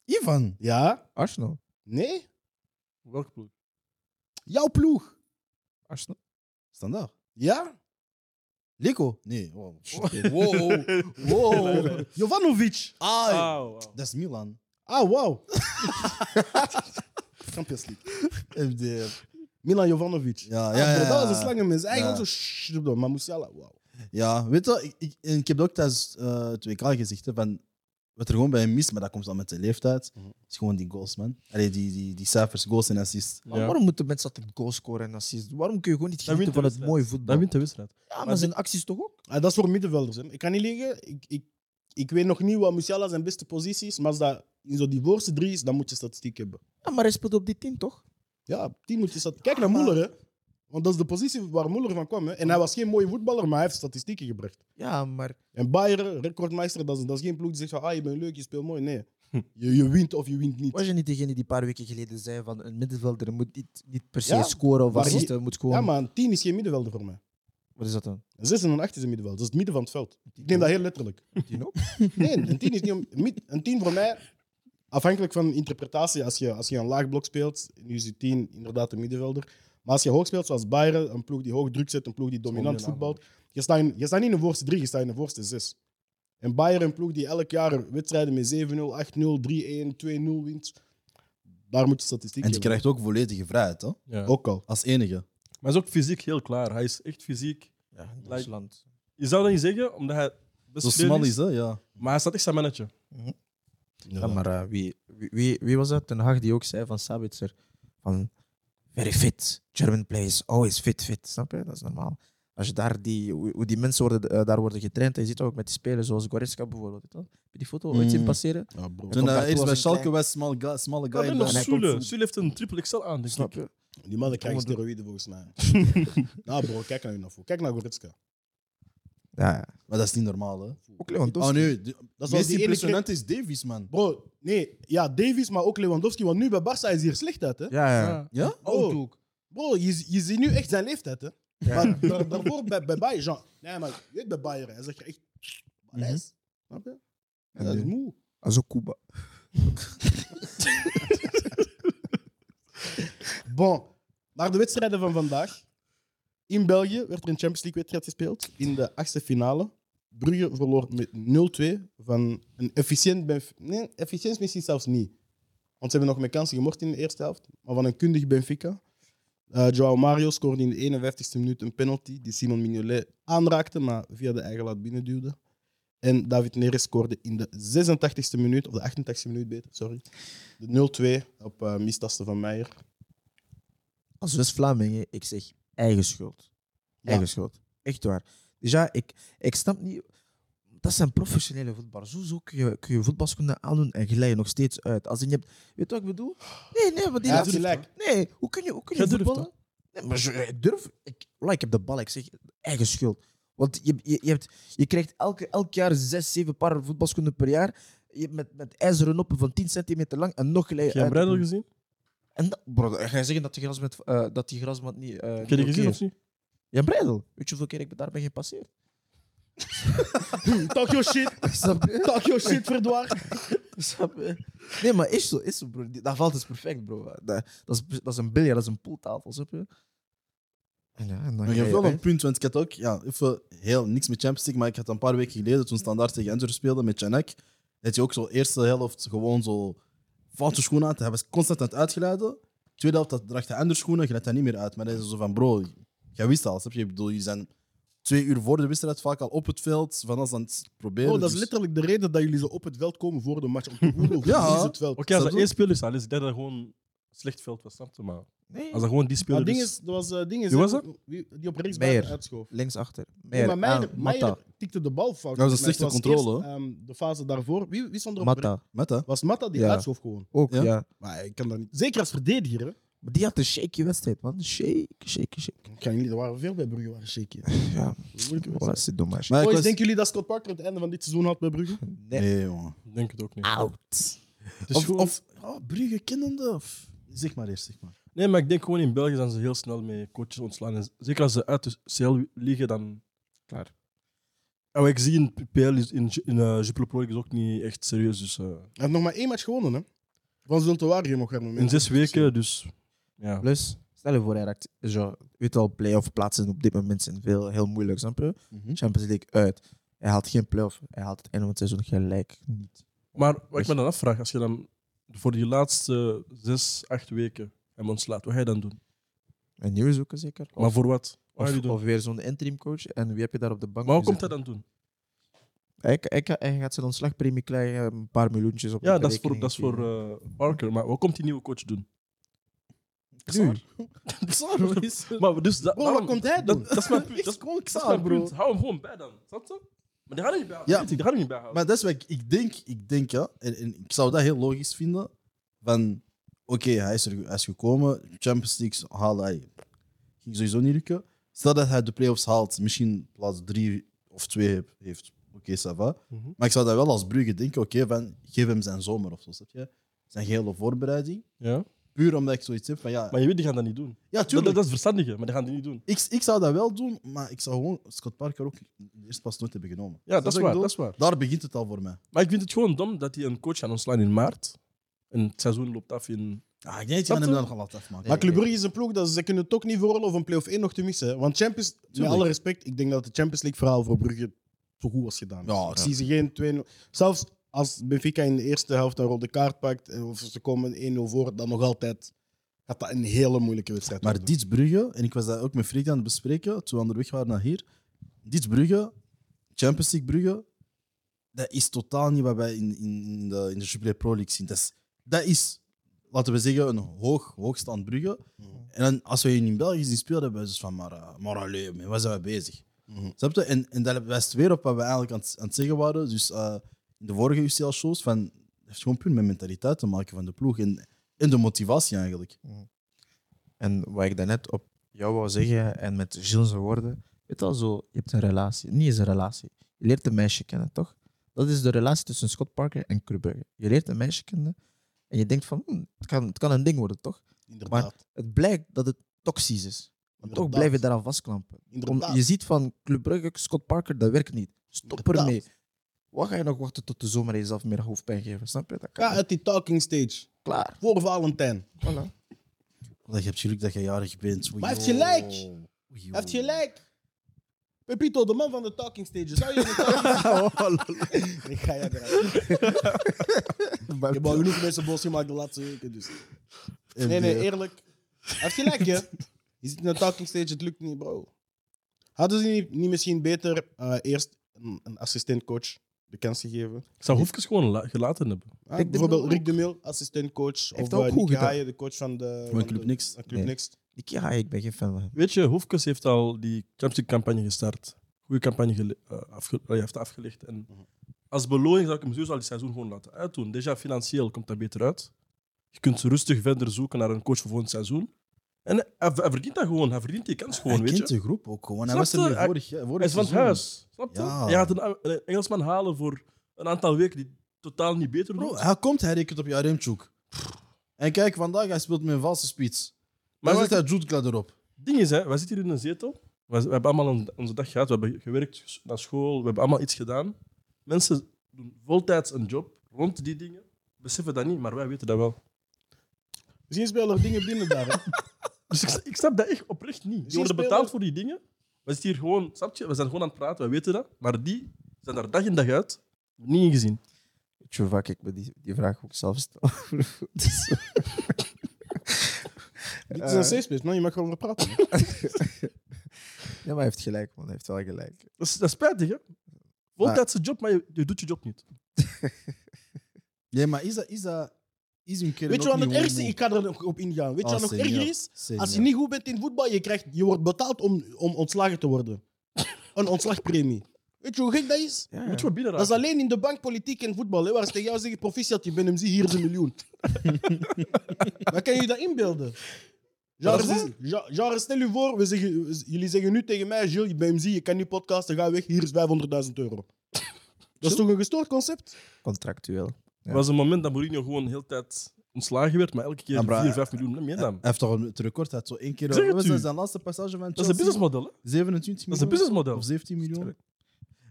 Speaker 2: Ivan.
Speaker 1: Ja?
Speaker 5: Arsenal.
Speaker 1: Nee?
Speaker 3: Welke ploeg?
Speaker 1: Jouw ploeg.
Speaker 5: Arsenal.
Speaker 2: Standaard.
Speaker 1: Ja?
Speaker 2: Leko? Nee. Wow.
Speaker 1: Wow.
Speaker 2: Şey-
Speaker 1: wow. Jovanovic.
Speaker 2: Ah,
Speaker 3: Ah, wauw.
Speaker 2: dat is Milan.
Speaker 1: Ah, wow. Champions League.
Speaker 2: FDF.
Speaker 1: Milan Jovanovic.
Speaker 2: Ja,
Speaker 1: Ah,
Speaker 2: ja,
Speaker 1: bro,
Speaker 2: ja.
Speaker 1: Dat was een slangenmens. Eigenlijk
Speaker 2: Ja.
Speaker 1: zo... shh, bro, Maar Musiala, wow.
Speaker 2: Ja, weet je, ik, ik, en ik heb dat ook tijdens eh, het WK gezegd, hè, van, wat er gewoon bij hem mist, maar dat komt dan met zijn leeftijd, is gewoon die goals, man. Allee, die, die, die cijfers, goals en assists.
Speaker 5: Maar waarom moeten mensen altijd goals scoren en assists? doen? Waarom kun je gewoon niet
Speaker 3: Dat
Speaker 5: genieten
Speaker 3: wint
Speaker 5: van
Speaker 3: de
Speaker 5: het mooie voetbal?
Speaker 3: Dat wint de wedstrijd.
Speaker 5: Ja, maar
Speaker 3: Maar
Speaker 5: zijn acties toch ook?
Speaker 1: Ah, dat is voor middenvelders. Hè. Ik kan niet liegen. Ik, ik, ik weet nog niet wat Musiala zijn beste positie is. Maar als dat in zo die voorste drie is, dan moet je statistiek hebben.
Speaker 5: Ja, maar hij speelt op die team toch?
Speaker 1: Ja, tien moet je statistiek... Kijk naar Muller, hè. Want dat is de positie waar Muller van kwam. Hè. En hij was geen mooie voetballer, maar hij heeft statistieken gebracht.
Speaker 5: Ja, maar
Speaker 1: En Bayern, recordmeester, dat is, dat is geen ploeg die zegt van, ah, je bent leuk, je speelt mooi. Nee.
Speaker 2: Hm.
Speaker 1: Je, je wint of je wint niet.
Speaker 5: was je niet degene die een paar weken geleden zei van een middenvelder moet niet, niet per se
Speaker 1: Ja,
Speaker 5: scoren of
Speaker 1: maar je-
Speaker 5: assisten, moet gewoon...
Speaker 1: Ja, maar een 10 is geen middenvelder voor mij.
Speaker 5: Wat is dat dan?
Speaker 1: Een 6 en een 8 is een middenveld. Dat is het midden van het veld. Ik neem dat heel letterlijk.
Speaker 5: Tien ook?
Speaker 1: Nee, een 10 is niet om, mid- een 10 voor mij, afhankelijk van interpretatie. Als je, als je een laag blok speelt, nu is je 10 inderdaad een middenvelder. Maar als je hoog speelt, zoals Bayern, een ploeg die hoog druk zet, een ploeg die dominant voetbalt. Je staat, in- je staat niet in de voorste 3, je staat in de voorste 6. En Bayern, een ploeg die elk jaar wedstrijden met 7-0, 8-0, 3-1, 2-0 wint. Daar moet je statistiek
Speaker 2: En
Speaker 1: hebben.
Speaker 2: die krijgt ook volledige vrijheid, hè?
Speaker 3: Ja.
Speaker 1: Ook al.
Speaker 2: als enige.
Speaker 3: Maar hij is ook fysiek heel klaar. Hij is echt fysiek.
Speaker 5: Ja, in
Speaker 3: Like-
Speaker 5: Duitsland.
Speaker 3: Je zou dat niet zeggen, omdat hij best
Speaker 2: Zo
Speaker 3: veel
Speaker 2: smal is, hè? Ja.
Speaker 3: Maar hij staat echt zijn mannetje.
Speaker 5: Ja, maar eh, wie, wie, wie, wie was dat? Ten Hag die ook zei van Sabitzer van very fit, German plays, always fit, fit. Snap je? Dat is normaal. Als je daar die, hoe hoe die mensen worden, eh, daar worden getraind, en je ziet dat ook met die spelers zoals Goretzka bijvoorbeeld. Weet je wel? Heb je die foto ooit zien
Speaker 2: Mm.
Speaker 5: passeren?
Speaker 1: Ja, bro.
Speaker 5: Hij
Speaker 2: Toen
Speaker 5: komt
Speaker 2: hij
Speaker 5: daartoe
Speaker 2: eerst
Speaker 5: als
Speaker 2: bij
Speaker 5: een
Speaker 2: Schalke
Speaker 5: klein-
Speaker 2: was, small guy. Small
Speaker 3: Ja,
Speaker 2: guy
Speaker 3: en
Speaker 2: en
Speaker 3: nog
Speaker 2: dan-
Speaker 5: hij komt
Speaker 3: Sule.
Speaker 5: van-
Speaker 3: Sule heeft een triple XL aan, denk
Speaker 5: Snap
Speaker 3: ik.
Speaker 5: je?
Speaker 1: Die mannen krijgen
Speaker 5: Kom maar
Speaker 1: steroïden volgens mij. nou bro, kijk naar je afvoer. Kijk naar Goretzka.
Speaker 5: Ja, ja.
Speaker 2: Maar dat is niet normaal, hè?
Speaker 5: Ook Lewandowski.
Speaker 2: Oh nee, de-
Speaker 1: Dat
Speaker 2: het
Speaker 1: was
Speaker 2: meest
Speaker 1: die ene keer-
Speaker 2: impressionant is Davies, man.
Speaker 1: Bro, nee, ja, Davies, maar ook Lewandowski. Want nu bij Barca is hij er slecht uit, hè?
Speaker 5: Ja, ja.
Speaker 2: Ja?
Speaker 1: Oud ook. Bro, je, je ziet nu echt zijn leeftijd, hè?
Speaker 5: Ja.
Speaker 1: Maar daar- daarvoor bij, bij Bayern, Jean. Nee, maar je weet bij Bayern, hij zegt echt.
Speaker 5: Mhm.
Speaker 1: Balais. Snap je?
Speaker 5: En
Speaker 1: Dat is
Speaker 5: nu?
Speaker 1: moe.
Speaker 5: Als ook Cuba.
Speaker 1: Bon, maar de wedstrijden van vandaag. In België werd er een Champions League-wedstrijd gespeeld. In de achtste finale. Brugge verloor met 0-2 van een efficiënt Benf- Nee, efficiënt misschien zelfs niet. Want ze hebben nog met kansen gemord in de eerste helft. Maar van een kundig Benfica. Eh Joao Mario scoorde in de 51ste minuut een penalty die Simon Mignolet aanraakte, maar via de eigen laat binnenduwde. En David Neres scoorde in de 86ste minuut, of de 88ste minuut beter, sorry. De 0-2 op eh mistasten van Meijer.
Speaker 5: Als West-Vlamingen, ik zeg eigen schuld. Eigen schuld. Echt waar. Dus Ja, ik, ik snap niet. Dat zijn professionele voetballers. Hoezo kun je, kun je voetbalschoenen aandoen en glijden nog steeds uit? Als in je hebt, weet je wat ik bedoel? Nee, nee, maar die
Speaker 1: Hij
Speaker 5: laatste-
Speaker 1: heeft gelijk.
Speaker 5: Nee, hoe kun je, hoe kun
Speaker 3: Jij
Speaker 5: je
Speaker 3: durft
Speaker 5: voetballen? Nee, maar je- ik durf. Ik, voilà, ik heb de bal, ik zeg eigen schuld. Want je, je, je, hebt, je krijgt elke, elk jaar zes, zeven paar voetbalschoenen per jaar. Je, met, met ijzeren noppen van 10 centimeter lang en nog gelijk.
Speaker 3: Heb jij een breidel gezien?
Speaker 5: En dat, bro, ga je zeggen dat die grasmat, eh, dat die grasmat niet. eh
Speaker 3: Heb je die gezien of niet?
Speaker 5: Ja, Breidel. Weet je hoeveel keer ik daar ben gepasseerd?
Speaker 1: Talk your shit.
Speaker 5: Snap je?
Speaker 1: Talk your shit, verdwaar.
Speaker 5: Snap je? Nee, maar is zo, is zo, bro. Die- Dat valt is perfect, bro. Dat, dat, is, dat is een biljart, dat is een poeltafel, snap je? En ja, en dan
Speaker 2: Maar je
Speaker 5: ga
Speaker 2: hebt wel een punt, want ik had ook ja, even heel niks met Champions League, maar ik had een paar weken geleden toen Standaard tegen Inter speelde met Janek, dat je ook zo eerste helft gewoon zo foute schoenen aan. Hij was constant aan het uitgeleiden. Tweede helft dat draagt hij andere schoenen, je let daar niet meer uit. Maar dat is zo van bro, jij wist al, snap je? Ik bedoel, je zijn twee uur voor de wedstrijd vaak al op het veld, van alles aan het proberen.
Speaker 1: Oh, dat is
Speaker 2: dus-
Speaker 1: letterlijk de reden dat jullie zo op het veld komen voor de match. Om te voelen hoe
Speaker 2: Ja.
Speaker 1: goed is het veld.
Speaker 3: Oké, als
Speaker 2: Snap
Speaker 3: dat
Speaker 2: je?
Speaker 3: één speler is, al is dat gewoon slecht veld, was snap je? Maar
Speaker 5: Nee,
Speaker 3: als dat gewoon die
Speaker 1: Maar
Speaker 3: speler
Speaker 1: ding
Speaker 3: is...
Speaker 1: is, dat was, eh, ding is
Speaker 3: Wie was
Speaker 1: hè, wie- die op rechts
Speaker 5: Meijer.
Speaker 1: buiten uitschoof.
Speaker 5: linksachter.
Speaker 1: Nee, maar Meijer,
Speaker 5: Ah,
Speaker 1: Meijer
Speaker 5: Matta.
Speaker 1: tikte de bal fout.
Speaker 2: Dat was een
Speaker 1: volgens mij.
Speaker 2: slechte
Speaker 1: Het was
Speaker 2: controle,
Speaker 1: eerst, ehm, de fase daarvoor. Wie, wie stond er op rechts?
Speaker 5: Matta.
Speaker 2: Met, hè?
Speaker 1: Was Matta die
Speaker 5: Ja.
Speaker 1: uitschoof gewoon.
Speaker 5: Ook,
Speaker 2: Ja.
Speaker 5: ja.
Speaker 1: Maar ik kan dat niet. Zeker als verdediger. Hè?
Speaker 5: Maar die had een shaky wedstrijd, man. Shake, shake, shake.
Speaker 1: Ik kan jullie, er waren veel bij Brugge waren shaky.
Speaker 5: Ja,
Speaker 1: Moeilijke
Speaker 5: voilà,
Speaker 1: wedstrijd.
Speaker 5: dat is dommage.
Speaker 2: Maar ik
Speaker 1: Boys,
Speaker 2: was-
Speaker 1: denken jullie dat Scott Parker het einde van dit seizoen had bij Brugge?
Speaker 5: Nee.
Speaker 2: Nee, jongen.
Speaker 3: Ik denk het ook niet.
Speaker 5: Out.
Speaker 3: Het is
Speaker 2: Of,
Speaker 3: gewoon-
Speaker 2: of oh, Brugge kennende, of... zeg maar eerst, zeg maar.
Speaker 3: Nee, maar ik denk gewoon in België zijn ze heel snel met coaches ontslaan. En zeker als ze uit de CL liggen, dan...
Speaker 5: Klaar.
Speaker 3: Oh, ik zie in PL, is- in, in eh, Jupiler Pro League is ook niet echt serieus. Dus, eh,
Speaker 1: Hij heeft nog maar één match gewonnen, hè? Van Zultuarium nog haar
Speaker 3: in zes weken, dus... Ja.
Speaker 5: Plus, stel je voor, hij raakt, zo, weet wel, play-off plaatsen op dit moment zijn veel, heel moeilijk, snap je?
Speaker 3: Mhm.
Speaker 5: Champions League uit. Hij haalt geen play-off. Hij haalt het einde van het seizoen gelijk niet.
Speaker 3: Maar wat ik me dan afvraag, als je dan voor die laatste zes, acht weken hem ontslaat, wat ga je dan doen?
Speaker 5: Een nieuwe zoeken zeker. Of,
Speaker 3: maar voor wat? Wat ga
Speaker 5: of,
Speaker 3: je doen?
Speaker 5: of weer zo'n interim coach. En wie heb je daar op de bank?
Speaker 3: maar hoe komt
Speaker 5: gezet?
Speaker 3: hij dan doen?
Speaker 5: Hij, hij, hij gaat zijn ontslagpremie krijgen, een paar miljoentjes op
Speaker 3: Ja,
Speaker 5: de
Speaker 3: dat is voor,
Speaker 5: rekening
Speaker 3: dat is voor
Speaker 5: geven.
Speaker 3: eh, Parker. Maar wat komt die nieuwe coach doen?
Speaker 1: Duur.
Speaker 3: Maar dus dat,
Speaker 1: Bro, wat
Speaker 3: daarom-
Speaker 1: komt hij
Speaker 3: dat,
Speaker 1: doen?
Speaker 3: dat is mijn,
Speaker 1: Echt
Speaker 3: dat, is-
Speaker 1: gewoon
Speaker 3: dat is
Speaker 1: klaar,
Speaker 3: mijn
Speaker 1: bro.
Speaker 3: punt. Hou hem gewoon bij dan. Snap je? Maar die gaan er niet bij houden.
Speaker 2: Ja.
Speaker 3: Weet ik, Die gaan er niet bij houden.
Speaker 2: Maar dat is wat ik, ik denk, ik denk ja, en, en ik zou dat heel logisch vinden. Van oké, hij, is er- hij is gekomen, Champions League halen hij. Ging sowieso niet lukken. Stel dat hij de playoffs haalt, misschien plaats drie of twee heb- heeft. Oké, ça va.
Speaker 3: Mhm.
Speaker 2: Maar ik zou dat wel als Brugge denken, oké, van geef hem zijn zomer of zo, snap je? Zijn gehele voorbereiding.
Speaker 3: ja.
Speaker 2: Puur omdat ik zoiets heb van ja,
Speaker 3: maar je weet, die gaan dat niet doen.
Speaker 2: ja
Speaker 3: Dat, dat,
Speaker 2: tuurlijk.
Speaker 3: dat is verstandiger, maar die gaan die niet doen.
Speaker 2: ik, ik zou dat wel doen, maar ik zou gewoon Scott Parker ook eerst pas nooit hebben genomen.
Speaker 3: Ja, dat
Speaker 2: wat
Speaker 3: is
Speaker 2: ik
Speaker 3: waar.
Speaker 2: bedoel?
Speaker 3: Dat is waar.
Speaker 2: Daar begint het al voor mij.
Speaker 3: Maar ik vind het gewoon dom dat hij een coach gaat ontslaan in maart. En het seizoen loopt af in...
Speaker 2: Ah, ik denk dat je
Speaker 3: Snap
Speaker 2: aan hem
Speaker 3: je?
Speaker 2: dan nog laten afmaken.
Speaker 1: Maar Club Brugge is een ploeg dat ze, ze kunnen het ook niet veroorloven om play-off 1 nog te missen. hè. Want Champions, met
Speaker 2: Tuurlijk.
Speaker 1: alle respect, ik denk dat het Champions League verhaal voor Brugge zo goed was gedaan.
Speaker 2: Ja,
Speaker 1: ik
Speaker 2: ja.
Speaker 1: zie ze geen 2-0. Zelfs als Benfica in de eerste helft een rode kaart pakt eh, of ze komen 1-0 voor, dan nog altijd gaat dat een hele moeilijke wedstrijd
Speaker 2: Maar
Speaker 1: worden.
Speaker 2: Diets Brugge, en ik was dat ook met Freek aan het bespreken toen we onderweg waren naar hier. Diets Brugge, Champions League Brugge, dat is totaal niet wat wij in, in, in de, in de Jupiler Pro League zien. Dat is, dat is, laten we zeggen, een hoog, hoogstand Brugge.
Speaker 1: Mhm.
Speaker 2: En dan, als we in België zien spelen, hebben we dus van, maar, eh, maar allee, met wat zijn we bezig?
Speaker 1: Mhm.
Speaker 2: Snap je? En, en dat wijst weer op wat we eigenlijk aan het, aan het zeggen waren. Dus eh, in de vorige UCL-shows, van, het heeft gewoon puur met mentaliteit te maken van de ploeg en, en de motivatie eigenlijk.
Speaker 5: En wat ik daarnet op jou wou zeggen en met Gilles' zijn woorden. Weet je wel zo, je hebt een relatie. Niet eens een relatie. Je leert een meisje kennen, toch? Dat is de relatie tussen Scott Parker en Krubberger. Je leert een meisje kennen en je denkt van, hm, het, kan, het kan een ding worden, toch?
Speaker 1: Inderdaad.
Speaker 5: Het blijkt dat het toxisch is. Maar toch
Speaker 1: Inderdaad.
Speaker 5: blijf je daaraan vastklampen. Om-
Speaker 1: Inderdaad.
Speaker 5: je ziet van Club Brugge, Scott Parker, dat werkt niet. Stop
Speaker 1: Inderdaad.
Speaker 5: ermee. Wat ga je nog wachten tot de zomer jezelf meer hoofdpijn geven? Snap je? Dat kan
Speaker 1: Ga
Speaker 5: niet.
Speaker 1: uit die talking stage.
Speaker 5: Klaar.
Speaker 1: Voor Valentijn.
Speaker 5: Voilà.
Speaker 2: Want Je hebt geluk dat je jarig bent. Oei,
Speaker 1: Maar hij heeft
Speaker 2: joh.
Speaker 1: gelijk.
Speaker 2: Oei, joh.
Speaker 1: Hij heeft gelijk. Pepito, de man van de talking stage. Zou je in de talking Ik ga je eruit. Ik heb al genoeg mensen boos gemaakt de laatste weken. Dus.
Speaker 2: En,
Speaker 1: Nee, nee,
Speaker 2: eh,
Speaker 1: eerlijk. Hij heeft gelijk, hè? Je zit in een talking stage, het lukt niet, bro. Hadden ze niet, niet misschien beter eh, eerst een, een assistentcoach de kans gegeven?
Speaker 3: Ik zou Hoefkes gewoon la- gelaten hebben.
Speaker 1: Ah,
Speaker 5: Rick de
Speaker 1: bijvoorbeeld
Speaker 5: Mil
Speaker 1: Rick de Mil, assistentcoach. Of
Speaker 5: Heeft ook
Speaker 1: eh,
Speaker 5: goed
Speaker 1: Nicky
Speaker 5: gedaan.
Speaker 1: Haaien, de coach van de...
Speaker 2: Van Club
Speaker 1: de-
Speaker 2: Next.
Speaker 1: van Club
Speaker 5: Nee.
Speaker 1: Next.
Speaker 5: Ik, ja, ik ben geen fan van hem.
Speaker 3: Weet je, Hoefkes heeft al die Champions League campagne gestart. goede campagne gele- eh, afge- allee, heeft afgelegd. En als beloning zou ik hem sowieso al die seizoen gewoon laten uitdoen. Déjà financieel komt dat beter uit. Je kunt rustig verder zoeken naar een coach voor volgend seizoen. En hij, hij verdient dat gewoon. Hij verdient die kans gewoon,
Speaker 2: hij
Speaker 3: weet
Speaker 2: kent
Speaker 3: je.
Speaker 2: de groep ook gewoon. Hij
Speaker 3: Snap
Speaker 2: was er
Speaker 3: je?
Speaker 2: nu
Speaker 3: Hij-
Speaker 2: vorig jaar. vorig
Speaker 3: Hij is van het
Speaker 2: seizoen.
Speaker 3: huis. Snap je?
Speaker 2: Ja.
Speaker 3: Je gaat een, een Engelsman halen voor een aantal weken die totaal niet beter
Speaker 2: Bro,
Speaker 3: doet.
Speaker 2: hij komt, hij rekent op Jaremchuk. En kijk, vandaag hij speelt met een valse spits.
Speaker 3: Maar
Speaker 2: Maar
Speaker 3: wat-
Speaker 2: zit hij Jude Glad erop.
Speaker 3: ding is, hè, wij zitten hier in een zetel. We, we hebben allemaal on- onze dag gehad. We hebben gewerkt naar school. We hebben allemaal iets gedaan. Mensen doen voltijds een job rond die dingen. Beseffen dat niet, maar wij weten dat wel.
Speaker 1: Misschien spelen er dingen binnen daar. hè.
Speaker 3: Dus ik, ik snap dat echt oprecht niet. Je worden
Speaker 1: spelen-
Speaker 3: betaald voor die dingen. We zitten hier gewoon, snap je? We zijn gewoon aan het praten, wij weten dat. Maar die zijn daar dag in dag uit niet in gezien.
Speaker 5: Weet je hoe vaak ik me die, die vraag ook zelf stel? Dus-
Speaker 1: Dit is een safe space, man. Je mag gewoon praten. man.
Speaker 5: ja, maar hij heeft gelijk, man. Hij heeft wel gelijk.
Speaker 3: Dat is, dat is spijtig, hè? Voltijdse job, maar je, je doet je job niet.
Speaker 2: Ja, maar is dat... Is dat is hun kern
Speaker 1: Weet je
Speaker 2: ook
Speaker 1: wat het
Speaker 2: niet
Speaker 1: ergste is?
Speaker 2: homo?
Speaker 1: Ik ga er nog op ingaan. Weet je
Speaker 2: Ah,
Speaker 1: wat nog
Speaker 2: senior.
Speaker 1: erger is?
Speaker 2: Senior.
Speaker 1: Als je niet goed bent in voetbal, je, krijgt, je wordt betaald om, om ontslagen te worden. Een ontslagpremie. Weet je hoe gek dat is?
Speaker 5: Ja,
Speaker 3: Moet je wel binnen
Speaker 1: Dat is alleen in de bank, politiek en voetbal. Hè, waar ze tegen jou zeggen, proficiat, je bent hem, zie, hier is een miljoen. Wat kan je dat inbeelden? Genre,
Speaker 3: Dat is-
Speaker 1: ja, genre, stel je voor, we zeggen, we- jullie zeggen nu tegen mij, Gilles, je bent hem, zie, je kan niet podcasten, ga weg, hier is 500.000 euro. Dat is toch een gestoord concept?
Speaker 5: Contractueel.
Speaker 3: Er was een moment dat Mourinho gewoon de hele tijd ontslagen werd, maar elke keer
Speaker 2: Ja, maar-
Speaker 3: 4, 5 miljoen meer dan.
Speaker 2: Hij heeft toch het record, hij had zo één keer...
Speaker 3: Zeg het
Speaker 2: was
Speaker 3: u.
Speaker 2: dat zijn laatste passage van
Speaker 3: Dat is een
Speaker 2: Chelsea?
Speaker 3: businessmodel, hè?
Speaker 2: 27
Speaker 3: Dat is een
Speaker 2: miljoen?
Speaker 3: businessmodel.
Speaker 2: Of 17 miljoen.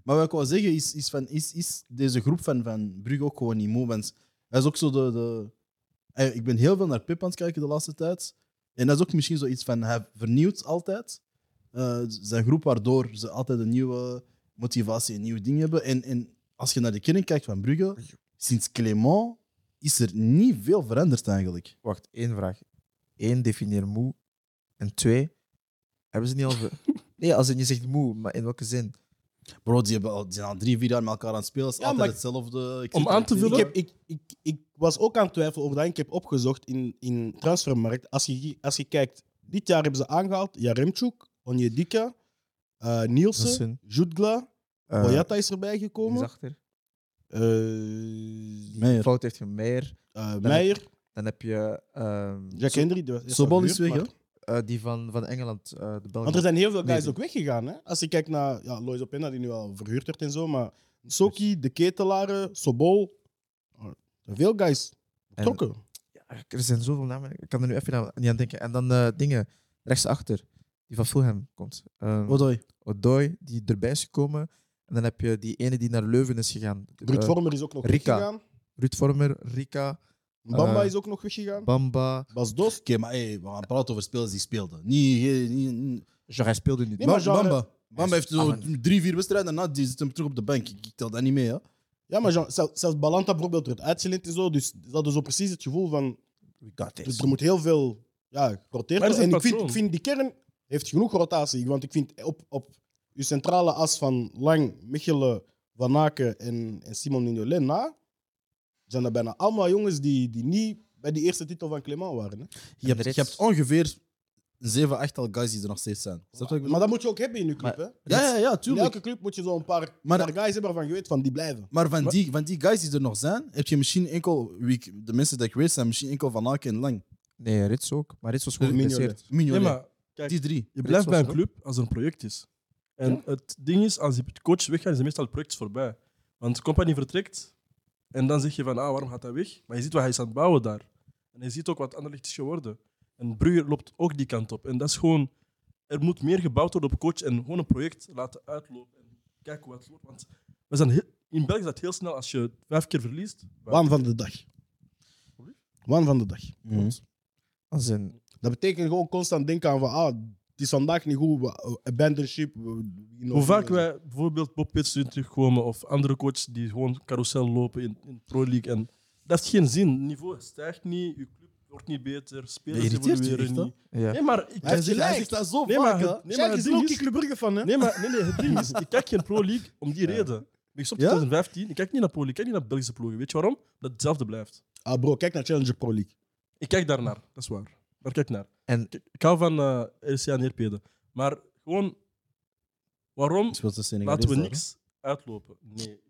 Speaker 2: Maar wat ik wil zeggen is, is, van, is, is deze groep van, van Brugge ook gewoon niet moe. Want hij is ook zo de, de. eh, Ik ben heel veel naar Pep aan het kijken de laatste tijd. En dat is ook misschien zoiets van hij vernieuwt altijd eh, zijn groep, waardoor ze altijd een nieuwe motivatie en nieuw ding hebben. En, en als je naar de kern kijkt van Brugge, sinds Clément is er niet veel veranderd eigenlijk.
Speaker 5: Wacht, één vraag. Eén, definieer moe. En twee, hebben ze niet al... ver- Nee, als in je zegt moe, maar in welke zin?
Speaker 2: Bro, die, hebben al, die zijn al drie, vier jaar met elkaar aan het spelen. Het is
Speaker 1: Ja,
Speaker 2: altijd
Speaker 1: maar-
Speaker 2: hetzelfde. Ik
Speaker 3: Om
Speaker 2: zit-
Speaker 3: aan te
Speaker 1: Ik,
Speaker 3: vullen-
Speaker 1: heb, ik, ik, ik was ook aan het twijfelen over dat. Ik heb opgezocht in, in transfermarkt. Als je, als je kijkt, dit jaar hebben ze aangehaald Jaremchuk, Onjedika, eh Nielsen,
Speaker 5: Nielsen,
Speaker 1: Jutgla,
Speaker 5: eh,
Speaker 1: Boyata is erbij
Speaker 5: die is
Speaker 1: gekomen.
Speaker 5: achter.
Speaker 1: eh
Speaker 2: Meijer.
Speaker 5: Fout heeft je Meijer.
Speaker 1: eh, Meijer,
Speaker 5: Dan heb je ehm,
Speaker 1: Jack
Speaker 5: zo-
Speaker 1: Hendry. die was- is
Speaker 2: Sobol
Speaker 1: al
Speaker 2: is weg,
Speaker 1: maar-
Speaker 2: hè?
Speaker 5: eh, die van, van Engeland, eh, de Belg.
Speaker 1: Want er zijn heel veel guys
Speaker 5: Nee.
Speaker 1: ook weggegaan. Hè? Als je kijkt naar ja, Lois Openda, die nu al verhuurd werd en zo. Maar Soki, De Ketelaren, Sobol. eh, er zijn Veel guys betrokken.
Speaker 5: Ja, er zijn zoveel namen. Ik kan er nu even aan- niet aan denken. En dan eh, dingen rechtsachter, die van Fulham komt. Ehm,
Speaker 2: Odoi.
Speaker 5: Odoi, die erbij is gekomen. En dan heb je die ene die naar Leuven is gegaan.
Speaker 1: Brut
Speaker 5: Eh,
Speaker 1: Vormer is ook nog
Speaker 5: Rika.
Speaker 1: weggegaan.
Speaker 5: Ruud Vormer, Rika,
Speaker 1: Bamba
Speaker 5: Eh,
Speaker 1: is ook nog weggegaan.
Speaker 5: Bamba.
Speaker 1: Bas Dost.
Speaker 2: Oké, maar hey, we gaan praten over spelers die speelden. Niet, eh, niet, niet-
Speaker 5: Ja, hij speelde niet.
Speaker 1: Nee, maar
Speaker 2: Bam-
Speaker 1: genre-
Speaker 2: Bamba. Bamba heeft zo
Speaker 5: Ah,
Speaker 2: drie, vier wedstrijden en na die zit hem terug op de bank. Ik, ik tel dat niet mee, hè.
Speaker 1: Ja, maar Jean- zelf- zelfs Balanta bijvoorbeeld werd uitgeleend en zo. Dus ze hadden zo precies het gevoel van... Dus er moet heel veel ja, geroteerd
Speaker 3: Maar dat
Speaker 1: worden.
Speaker 3: is een
Speaker 1: En ik vind,
Speaker 3: patroon.
Speaker 1: ik vind die kern heeft genoeg rotatie. Want ik vind op, op uw centrale as van Lang, Michele, Van Aken en, en Simon Mignolet na... zijn er bijna allemaal jongens die, die niet bij die eerste titel van Clément waren. Hè.
Speaker 2: Je
Speaker 5: de
Speaker 2: hebt, je
Speaker 5: rest-
Speaker 2: hebt ongeveer zeven, achttal guys die er nog steeds zijn. Snap je wat ik bedoel?
Speaker 1: Maar dat moet je ook hebben in je club. hè.
Speaker 2: Ja, ja, ja,
Speaker 1: in
Speaker 2: tuurlijk.
Speaker 1: elke club moet je zo'n paar,
Speaker 2: Maar-
Speaker 1: paar guys hebben waarvan je weet van die blijven.
Speaker 2: Maar van die, van die guys die er nog zijn, heb je misschien enkel... wie ik- de mensen die ik weet zijn misschien enkel Van Aken en Lang.
Speaker 5: Nee, Rits ook. Maar Rits was gewoon
Speaker 1: Mignolet.
Speaker 5: geblesseerd.
Speaker 2: Mignolet.
Speaker 3: Nee, maar kijk,
Speaker 2: die drie.
Speaker 3: je blijft
Speaker 5: Dit was
Speaker 3: bij een
Speaker 5: wel.
Speaker 3: club als er een project is. En het ding is, als die coach weggaat, is het meestal het project voorbij. Want de compagnie vertrekt en dan zeg je van, ah, waarom gaat hij weg? Maar je ziet wat hij is aan het bouwen daar. En je ziet ook wat Anderlecht is geworden. En Brugge loopt ook die kant op. En dat is gewoon, er moet meer gebouwd worden op coach en gewoon een project laten uitlopen. En kijken hoe het loopt. Want we zijn heel- in België is dat heel snel als je vijf keer verliest.
Speaker 1: Waan van de dag. Waan van de dag.
Speaker 3: Mhm.
Speaker 5: Als in,
Speaker 1: Dat betekent gewoon constant denken aan van, ah, het is vandaag niet goed, we- uh, abandon ship. we- we-
Speaker 3: Hoe vaak wij bijvoorbeeld Bob Pits zien terugkomen of andere coaches die gewoon carousel lopen in, in Pro League. En dat heeft geen zin. Het niveau stijgt niet, je club wordt niet beter, spelers
Speaker 2: Dat irriteert u
Speaker 3: evolueren
Speaker 2: echt, hè?
Speaker 3: niet.
Speaker 5: ja.
Speaker 3: Nee, maar, ik,
Speaker 1: Hij heeft
Speaker 2: zegt-
Speaker 1: gelijk.
Speaker 2: zegt dat zo
Speaker 3: nee,
Speaker 2: vaak,
Speaker 3: maar,
Speaker 2: hè.
Speaker 3: het, nee, maar
Speaker 1: Jij
Speaker 3: het
Speaker 1: is
Speaker 3: ding
Speaker 1: Loki
Speaker 3: is,
Speaker 1: Club Brugge van, hè?
Speaker 3: nee, maar, nee, nee, het ding is, ik kijk geen Pro League om die reden. Ik ben gestopt in
Speaker 2: Ja?
Speaker 3: 2015, ik kijk niet naar Pro League, ik kijk niet naar Belgische ploegen. Weet je waarom? Dat hetzelfde blijft.
Speaker 1: Ah, bro, kijk naar Challenger Pro League.
Speaker 3: Ik kijk daarnaar, dat is waar. Daar kijk ik naar.
Speaker 5: En-
Speaker 3: ik, ik hou van eh RCA en Neerpede. Maar gewoon, Waarom
Speaker 2: Speelt de Senegal.
Speaker 3: laten we niks uitlopen? Nee.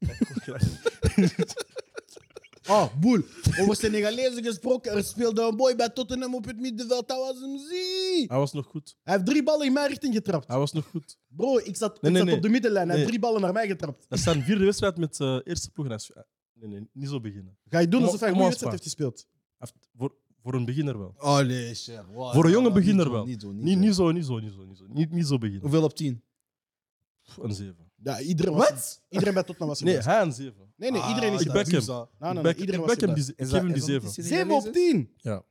Speaker 1: Oh, boel. Over Senegalezen gesproken. Er speelde een boy bij Tottenham op het middenveld. Dat was hem zie.
Speaker 3: Hij was nog goed.
Speaker 1: Hij heeft drie ballen in mijn richting getrapt.
Speaker 3: Hij was nog goed.
Speaker 1: Bro, ik zat, ik
Speaker 3: Ah. Nee, nee,
Speaker 1: zat
Speaker 3: nee.
Speaker 1: op de middenlijn. Hij heeft
Speaker 3: Nee.
Speaker 1: drie ballen naar mij getrapt.
Speaker 3: Dat is zijn vierde wedstrijd met de eerste ploeg. en hij is- eh, Nee, nee, niet zo beginnen.
Speaker 1: Ga je doen
Speaker 3: Kom-
Speaker 1: alsof hij een
Speaker 3: kom
Speaker 1: goede
Speaker 3: ons
Speaker 1: wedstrijd heeft
Speaker 3: maar.
Speaker 1: gespeeld?
Speaker 3: Hij heeft- Voor, voor een beginner wel.
Speaker 2: Oh nee, zeg. Wow,
Speaker 3: Voor een jonge
Speaker 2: nou, niet
Speaker 3: beginner
Speaker 2: doen,
Speaker 3: wel.
Speaker 2: Niet doen, niet
Speaker 3: Niet,
Speaker 2: doen.
Speaker 3: niet zo, niet zo, niet zo. Niet, zo. niet, niet zo beginnen.
Speaker 2: Hoeveel op 10?
Speaker 3: Pff, Een zeven.
Speaker 1: Ja, iedereen, was, iedereen bij Tottenham was
Speaker 3: Nee,
Speaker 1: nee,
Speaker 3: hij een zeven.
Speaker 1: nee, nee, iedereen
Speaker 2: Ah,
Speaker 1: is
Speaker 3: ik
Speaker 1: erbij.
Speaker 3: back hem.
Speaker 2: Zo.
Speaker 1: Nee, nee, nee,
Speaker 3: Ik back-
Speaker 1: Ah, iedereen
Speaker 3: ik
Speaker 1: was
Speaker 3: back hem
Speaker 1: erbij.
Speaker 3: die- ik geef hem die zeven.
Speaker 1: 7 op 10.
Speaker 3: Ja.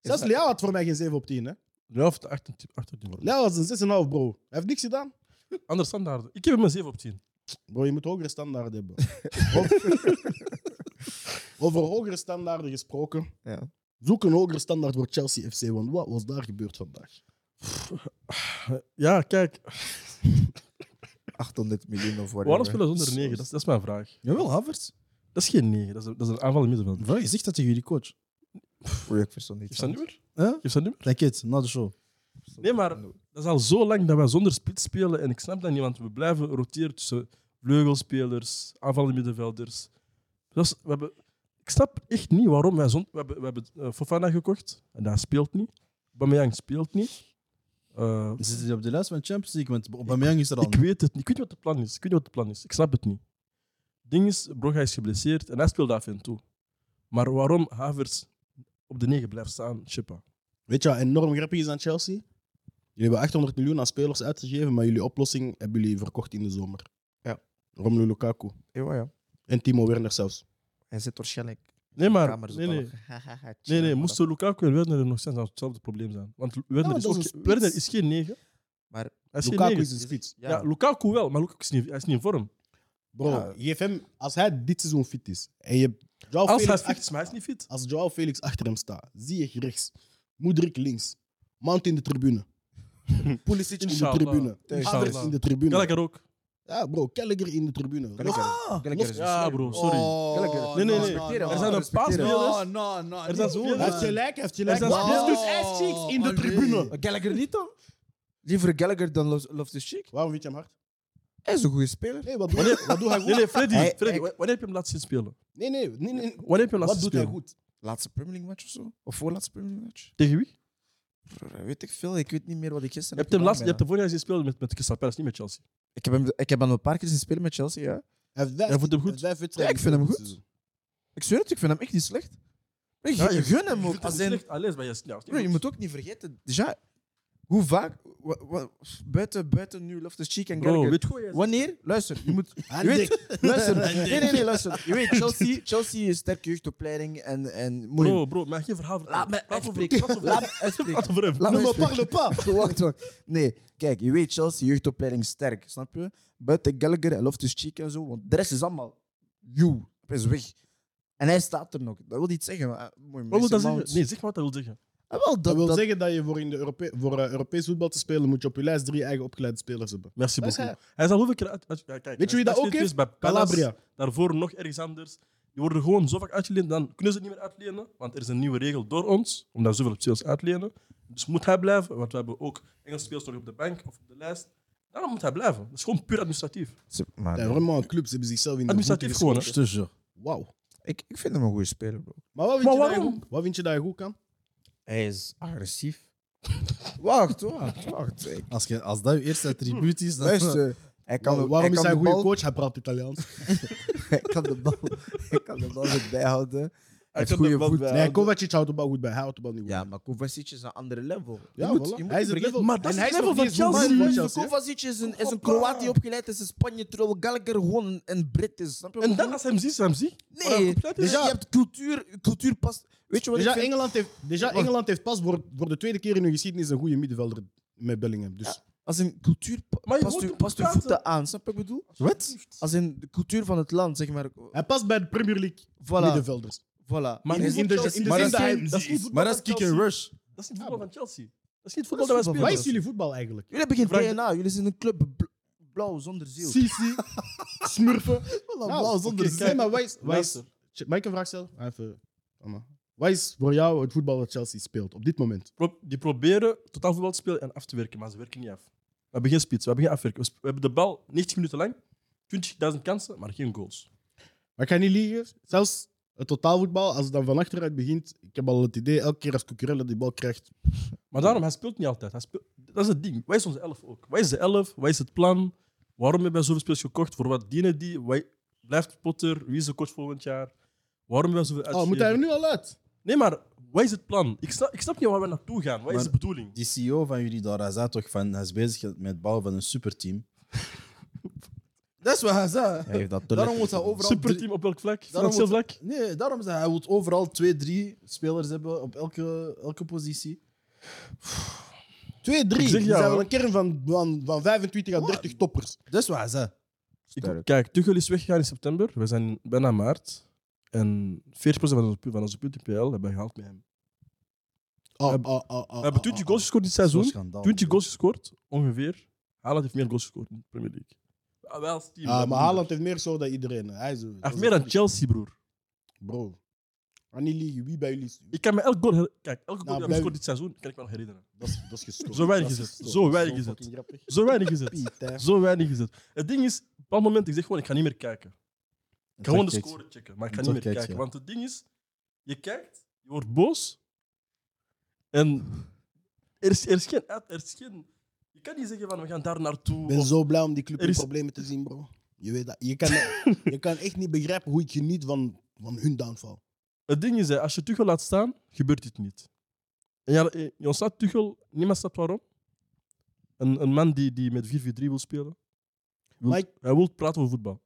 Speaker 1: Zelfs Lea had voor mij geen 7 op 10. Hè.
Speaker 3: Ja, of de 18 achter die man.
Speaker 1: Lea was een 6,5, bro. Hij heeft niks gedaan.
Speaker 3: Anders standaard. Ik heb hem een 7 op 10.
Speaker 1: Bro, je moet hogere standaarden hebben. Over, over hogere standaarden gesproken.
Speaker 5: Ja.
Speaker 1: Zoek een hogere standaard voor Chelsea FC, want wat was daar gebeurd vandaag?
Speaker 3: Ja, kijk.
Speaker 5: 800 miljoen of whatever.
Speaker 3: Waarom spelen ze onder 9? Dat, is- dat is mijn vraag.
Speaker 2: Jawel, Havertz.
Speaker 3: Dat is geen 9. Dat is een, dat is een aanval in middenveld.
Speaker 2: Bro, je zegt dat tegen jullie coach.
Speaker 5: Oei, ik verstond
Speaker 3: Geef
Speaker 5: niet.
Speaker 3: zijn nummer?
Speaker 2: Huh?
Speaker 3: Geef zijn nummer?
Speaker 2: Like it, na de show.
Speaker 3: Nee, maar dat is al zo lang dat wij zonder spits spelen. En ik snap dat niet, want we blijven roteren tussen vleugelspelers, aanvallende middenvelders. Dus we hebben, ik snap echt niet waarom wij zonder... We hebben, we hebben eh, Fofana gekocht, en dat speelt niet. Bameyang speelt niet. Eh,
Speaker 2: Zitten jullie op de lijst van Champions League? Want Aubameyang is er al.
Speaker 3: ik weet het niet. Ik weet niet wat het plan is. Ik weet niet wat het plan is. Ik snap het niet. Ding is, Brogga is geblesseerd en hij speelt af en toe. Maar waarom Havers op de 9 blijft staan, Chippa?
Speaker 1: Weet je wat enorm grappig is aan Chelsea? Jullie hebben 800 miljoen aan spelers uitgegeven, maar jullie oplossing hebben jullie verkocht in de zomer.
Speaker 5: Ja.
Speaker 1: Romelu Lukaku
Speaker 5: Ja, Oh, ja.
Speaker 1: en Timo Werner zelfs.
Speaker 5: Hij zit waarschijnlijk
Speaker 3: Nee, maar.
Speaker 5: kamers
Speaker 3: Nee,
Speaker 5: op
Speaker 3: nee.
Speaker 5: alle- Hahaha,
Speaker 3: Nee, nee,
Speaker 5: chill,
Speaker 3: moesten Lukaku en Werner er nog zijn, zou het hetzelfde probleem zijn. Want Werner,
Speaker 1: maar dat
Speaker 3: is,
Speaker 1: is
Speaker 3: ook
Speaker 1: een
Speaker 3: geen-
Speaker 1: spits.
Speaker 3: Werner is geen 9.
Speaker 5: Maar
Speaker 3: hij is geen
Speaker 1: Lukaku
Speaker 3: 9.
Speaker 1: is een spits.
Speaker 5: Ja,
Speaker 3: ja. Lukaku wel, maar Lukaku is niet, hij is niet in vorm.
Speaker 1: Bro,
Speaker 5: Ja.
Speaker 1: geef hem, als hij dit seizoen fit is en je hebt Joao
Speaker 3: Als hij
Speaker 1: Felix
Speaker 3: fit
Speaker 1: achter-
Speaker 3: is, maar hij is niet fit.
Speaker 1: als Joao Felix achter hem staat, zie je rechts, Moedrik links, Mount in de tribune, Pulisic in de
Speaker 3: Inshallah.
Speaker 1: tribune,
Speaker 3: Inshallah.
Speaker 1: Havertz in de tribune.
Speaker 3: Gallagher ook.
Speaker 1: Ja, bro, Kelleger in de tribune.
Speaker 5: Gallagher is een
Speaker 3: Ah! Ja,
Speaker 5: slecht,
Speaker 2: oh.
Speaker 3: bro, sorry.
Speaker 5: Gallagher.
Speaker 3: Nee, nee, nee.
Speaker 5: Respecteren,
Speaker 3: er
Speaker 5: man.
Speaker 3: zijn een paar
Speaker 5: Respecteren.
Speaker 3: spelers.
Speaker 2: no, no.
Speaker 3: Er zijn
Speaker 1: Hij heeft
Speaker 3: spelers.
Speaker 1: gelijk, hij heeft gelijk.
Speaker 3: Er zijn
Speaker 1: Maar
Speaker 3: spelers-
Speaker 1: dit is dus ass cheeks in de tribune.
Speaker 5: Gallagher niet dan? Liever Gallagher dan Lo- Loftus-Cheek?
Speaker 1: Waarom vind je hem hard?
Speaker 5: Hij is een goede speler.
Speaker 1: Nee, wat doet hij, wat doet hij
Speaker 3: Nee,
Speaker 1: goed?
Speaker 3: nee, Freddy.
Speaker 5: Hij-
Speaker 3: Freddy,
Speaker 5: hij-
Speaker 3: wa- wanneer heb je hem laten zien spelen?
Speaker 1: Nee, nee, nee, nee.
Speaker 3: Wanneer heb je hem laten
Speaker 1: Wat
Speaker 3: zien
Speaker 1: doet hij
Speaker 3: spelen?
Speaker 1: goed?
Speaker 5: Laatste Premier League match of zo? Of voorlaatste Premier League match?
Speaker 3: Tegen wie?
Speaker 5: Brr, weet ik veel. Ik weet niet meer wat ik
Speaker 3: Je
Speaker 5: gisteren
Speaker 3: hebt hem,
Speaker 5: gedaan
Speaker 3: laatst, je hebt hem
Speaker 5: ben,
Speaker 3: vorig jaar zien spelen met, met Crystal Palace, niet met Chelsea.
Speaker 5: hè. ik, heb hem, ik heb hem een paar keer zien spelen met Chelsea, ja.
Speaker 1: Hij heeft vijf-
Speaker 3: Hij voelt hem
Speaker 1: hij
Speaker 3: goed.
Speaker 1: heeft vijf
Speaker 5: Ja,
Speaker 1: wedstrijden
Speaker 5: ik vind hem
Speaker 1: gespeeld dit
Speaker 5: goed. Ik zweer het, ik vind hem echt niet slecht. Ik
Speaker 3: Ja, je-
Speaker 5: gun hem
Speaker 3: Je
Speaker 5: ook.
Speaker 3: vindt hem
Speaker 5: Als in-
Speaker 3: slecht, alleen bij Yes. Ja, is niet
Speaker 5: Broer, je
Speaker 3: goed.
Speaker 5: moet ook niet vergeten, ja, hoe vaak, wa- wa- buiten, buiten nu Loftus-Cheek en
Speaker 3: Bro,
Speaker 5: Gallagher,
Speaker 3: weet je hoe jij-
Speaker 5: wanneer, luister, je moet, je
Speaker 1: Hij
Speaker 5: weet, luister, nee, nee, nee, luister, je weet, Chelsea, Chelsea is sterke jeugdopleiding en, en moeilijk.
Speaker 3: Bro, bro, maak geen verhaal. vertellen.
Speaker 5: Laat me
Speaker 3: Praat over-
Speaker 5: uitspreken,
Speaker 3: praat over-
Speaker 5: laat me uitspreken.
Speaker 3: praat over hem.
Speaker 5: Laat
Speaker 1: Ne
Speaker 5: me
Speaker 1: me
Speaker 5: uitspreken.
Speaker 1: parle pas.
Speaker 5: Wacht, wacht. Nee, kijk, je weet Chelsea, jeugdopleiding sterk, snap je? Buiten Gallagher en Loftus-Cheek en zo, want de rest is allemaal, joe, is weg. En hij staat er nog. Dat wil niet zeggen. Maar, eh, mooi,
Speaker 3: Wat wil
Speaker 5: Mason
Speaker 3: dat zeggen?
Speaker 5: Mount.
Speaker 3: Nee, zeg maar wat hij wil zeggen.
Speaker 5: Ah, wel,
Speaker 1: Dat
Speaker 5: dat,
Speaker 1: wil
Speaker 5: dat-
Speaker 1: zeggen dat je voor, in de Europe voor eh, Europees voetbal te spelen moet je op je lijst drie eigen opgeleide spelers hebben.
Speaker 3: Merci
Speaker 1: Dat is
Speaker 3: beaucoup. Hij is al hoeveel keer uit... uit- ja, kijk,
Speaker 1: Weet je wie dat
Speaker 3: als
Speaker 1: ook
Speaker 3: dit
Speaker 1: heeft?
Speaker 3: is Bij Calabria.
Speaker 1: Calabria.
Speaker 3: Daarvoor nog ergens anders. Die worden gewoon zo vaak uitgeleend, dan kunnen ze het niet meer uitlenen. Want er is een nieuwe regel door ons, omdat zoveel spelers uitlenen. Dus moet hij blijven, want we hebben ook Engelse spelers nog op de bank of op de lijst. Daarom moet hij blijven. Dat is gewoon puur administratief.
Speaker 5: Maar,
Speaker 1: Ja, vraiment, een club, ze hebben zichzelf in de
Speaker 3: Administratief
Speaker 1: voeten
Speaker 3: gewoon. hè.
Speaker 2: Dus zo.
Speaker 1: geschoten. Wauw.
Speaker 5: ik, ik vind hem een goede speler, bro.
Speaker 1: Maar, wat vind,
Speaker 3: Maar
Speaker 1: je dat je
Speaker 3: waarom?
Speaker 1: goed, wat vind je dat je goed kan?
Speaker 5: Hij is agressief. Wacht, wacht, wacht. Ik-
Speaker 2: Als, je, als dat je eerste attribuut is, dan...
Speaker 5: Luister, hij kan,
Speaker 1: Wa- waarom
Speaker 5: hij
Speaker 1: is
Speaker 5: kan
Speaker 1: hij een
Speaker 5: de
Speaker 1: goede
Speaker 5: bal-
Speaker 1: coach? Hij praat Italiaans.
Speaker 5: Hij kan de bal, hij kan de bal goed bijhouden.
Speaker 3: Hij
Speaker 5: heeft
Speaker 3: kan de
Speaker 5: goede
Speaker 3: bal
Speaker 5: voet.
Speaker 3: bij-
Speaker 1: Nee, Kovacic houdt de bal goed bij. Hij houdt de bal niet goed.
Speaker 5: Ja, maar Kovacic is een ander level.
Speaker 1: Ja,
Speaker 5: je moet,
Speaker 1: voilà.
Speaker 5: je moet
Speaker 1: hij is het
Speaker 5: niet vergeten-
Speaker 1: level,
Speaker 3: Maar dat
Speaker 1: en
Speaker 3: is
Speaker 1: hij
Speaker 3: het level
Speaker 1: nog niet
Speaker 3: van
Speaker 1: eens goed
Speaker 3: Chelsea.
Speaker 1: bij Chelsea, hè.
Speaker 5: Kovacic is een, is een Kroatië opgeleid, is een Spanje, terwijl Gallagher gewoon een, een Brit is. Snap je wat
Speaker 3: En
Speaker 5: ik
Speaker 3: dan
Speaker 5: bedoel?
Speaker 3: als hij hem ziet, is hij hem ziet. Maar hij
Speaker 5: Nee,
Speaker 3: compleet is-
Speaker 5: dus je hebt cultuur, cultuur past... Weet je wat
Speaker 1: Déjà,
Speaker 5: ik vind?
Speaker 1: Engeland heeft, déjà Engeland heeft pas voor, voor de tweede keer in hun geschiedenis een goede middenvelder met Bellingham. Dus
Speaker 5: Als een cultuur pa-
Speaker 3: Maar je
Speaker 5: past,
Speaker 3: hoort
Speaker 5: u,
Speaker 3: hem
Speaker 5: past uw
Speaker 3: praten.
Speaker 5: voeten aan, snap je wat ik bedoel?
Speaker 2: Wat?
Speaker 5: Als in de cultuur van het land, zeg maar.
Speaker 1: hij past bij de Premier League
Speaker 5: Voilà,
Speaker 1: middenvelders.
Speaker 5: voilà.
Speaker 3: Maar
Speaker 1: In,
Speaker 3: niet
Speaker 1: in de,
Speaker 3: voor
Speaker 1: in de zin
Speaker 3: Chelsea.
Speaker 1: dat hij...
Speaker 3: dat is niet voetbal
Speaker 2: Maar dat is
Speaker 3: van
Speaker 2: kick and
Speaker 3: Chelsea.
Speaker 2: rush.
Speaker 3: Dat is niet voetbal van Chelsea. Dat is niet voetbal dat wij
Speaker 5: voetbal
Speaker 3: spelen.
Speaker 5: van
Speaker 1: Wat is jullie voetbal eigenlijk?
Speaker 5: Jullie hebben geen
Speaker 3: Vraag-
Speaker 5: DNA, jullie zijn een club bl- blauw zonder ziel.
Speaker 1: Sisi, smurfen. Nou,
Speaker 2: blauw zonder
Speaker 1: oké,
Speaker 2: zin.
Speaker 1: kijk, maar wat is- wat is-
Speaker 3: Luister.
Speaker 1: Ch- Mag ik een vraag stellen? Ah, Even, Anna. Wat is voor jou het voetbal dat Chelsea speelt op dit moment?
Speaker 3: Pro- die proberen totaal voetbal te spelen en af te werken, maar ze werken niet af. hebben geen spits, we hebben geen afwerking. We sp- We hebben de bal 90 minuten lang, 20.000 kansen, maar geen goals.
Speaker 1: Maar ik ga niet liegen. Zelfs het totaalvoetbal, als het dan van achteruit begint, ik heb al het idee, elke keer als Cucurella die bal krijgt,
Speaker 3: Maar daarom, hij speelt niet altijd. Hij speelt, dat is het ding. Wat is onze elf ook? Wat is de elf? Wat is het plan? Waarom hebben wij zoveel spelers gekocht? Voor wat dienen die? Wat- blijft Potter? Wie is de coach volgend jaar? Waarom hebben wij zoveel
Speaker 1: oh, moet
Speaker 3: uitgegeven?
Speaker 1: hij er nu al uit?
Speaker 3: Nee, maar wat is het plan? Ik snap, ik snap niet waar we naartoe gaan. Wat is
Speaker 2: Maar-
Speaker 3: de bedoeling?
Speaker 2: Die CEO van jullie daar, hij zei toch van hij is bezig met het bouwen van een superteam. dat is wat hij zei.
Speaker 5: Hij heeft dat te
Speaker 2: Daarom moet
Speaker 5: letterlijk
Speaker 2: hij overal. drie-
Speaker 3: Superteam op welk vlak?
Speaker 2: Daarom
Speaker 3: Financieel
Speaker 2: moet-
Speaker 3: vlak?
Speaker 2: Nee, daarom zei hij, hij wil overal twee, drie spelers hebben op elke, elke positie.
Speaker 1: 2-3. Die
Speaker 3: Ik zeg
Speaker 1: zijn
Speaker 3: ja,
Speaker 1: wel
Speaker 3: hoor.
Speaker 1: een kern van, van, van 25 à 30 toppers.
Speaker 2: Dat is wat hij zei.
Speaker 3: Ik, kijk, Tuchel is weggegaan in september. We zijn bijna maart. En 40% van onze, pu- van onze punten PL hebben we gehaald met hem.
Speaker 1: Ah,
Speaker 3: Heb-
Speaker 1: ah, ah,
Speaker 3: We
Speaker 1: ah,
Speaker 3: hebben
Speaker 1: ah,
Speaker 3: 20
Speaker 1: ah.
Speaker 3: goals gescoord dit
Speaker 2: Zo'n
Speaker 3: seizoen.
Speaker 2: schandaal.
Speaker 3: 20 goals gescoord, ongeveer. Haaland heeft meer goals gescoord in de Premier League. Ah, wel als team.
Speaker 1: Ah,
Speaker 3: dat
Speaker 1: maar
Speaker 3: moet-
Speaker 1: Haaland heeft meer zo dan iedereen. Hij is,
Speaker 3: Hij heeft meer dan Chelsea, broer.
Speaker 1: Bro. Aan die liegen, wie bij jullie is?
Speaker 3: Ik kan me elk goal... her- Kijk, elke goal
Speaker 1: Nou,
Speaker 3: die hij
Speaker 1: bij-
Speaker 3: gescoord dit seizoen, kan ik me nog herinneren.
Speaker 1: Dat is, dat is gestoord.
Speaker 3: Zo weinig
Speaker 1: Dat
Speaker 3: is het.
Speaker 1: gestoord.
Speaker 3: Zo weinig is
Speaker 1: fucking grappig.
Speaker 3: Zo weinig is het.
Speaker 1: Piet, hè.
Speaker 3: Zo weinig is het. Het ding is, op een bepaald moment, ik zeg gewoon, ik ga niet meer kijken. Ik ga gewoon de
Speaker 2: Kijk,
Speaker 3: score checken, maar ik ga
Speaker 2: En
Speaker 3: niet meer
Speaker 2: toch kijkt,
Speaker 3: kijken.
Speaker 2: ja.
Speaker 3: Want het ding is, je kijkt, je wordt boos. En er is, er is, geen, uit- er is geen... Je kan niet zeggen van, we gaan daar naartoe.
Speaker 1: Ik ben
Speaker 3: of-
Speaker 1: zo blij om die club
Speaker 3: Er
Speaker 1: in
Speaker 3: is-
Speaker 1: problemen te zien, bro. Je, weet dat. Je, kan, je kan echt niet begrijpen hoe ik geniet van, van hun downfall.
Speaker 3: Het ding is, hè, als je Tuchel laat staan, gebeurt dit niet. En ja, eh, je ontslaat Tuchel, niemand snapt waarom. Een, een man die, die met 4-4-3 wil spelen. Wil-
Speaker 1: Maar ik-
Speaker 3: Hij wil praten over voetbal.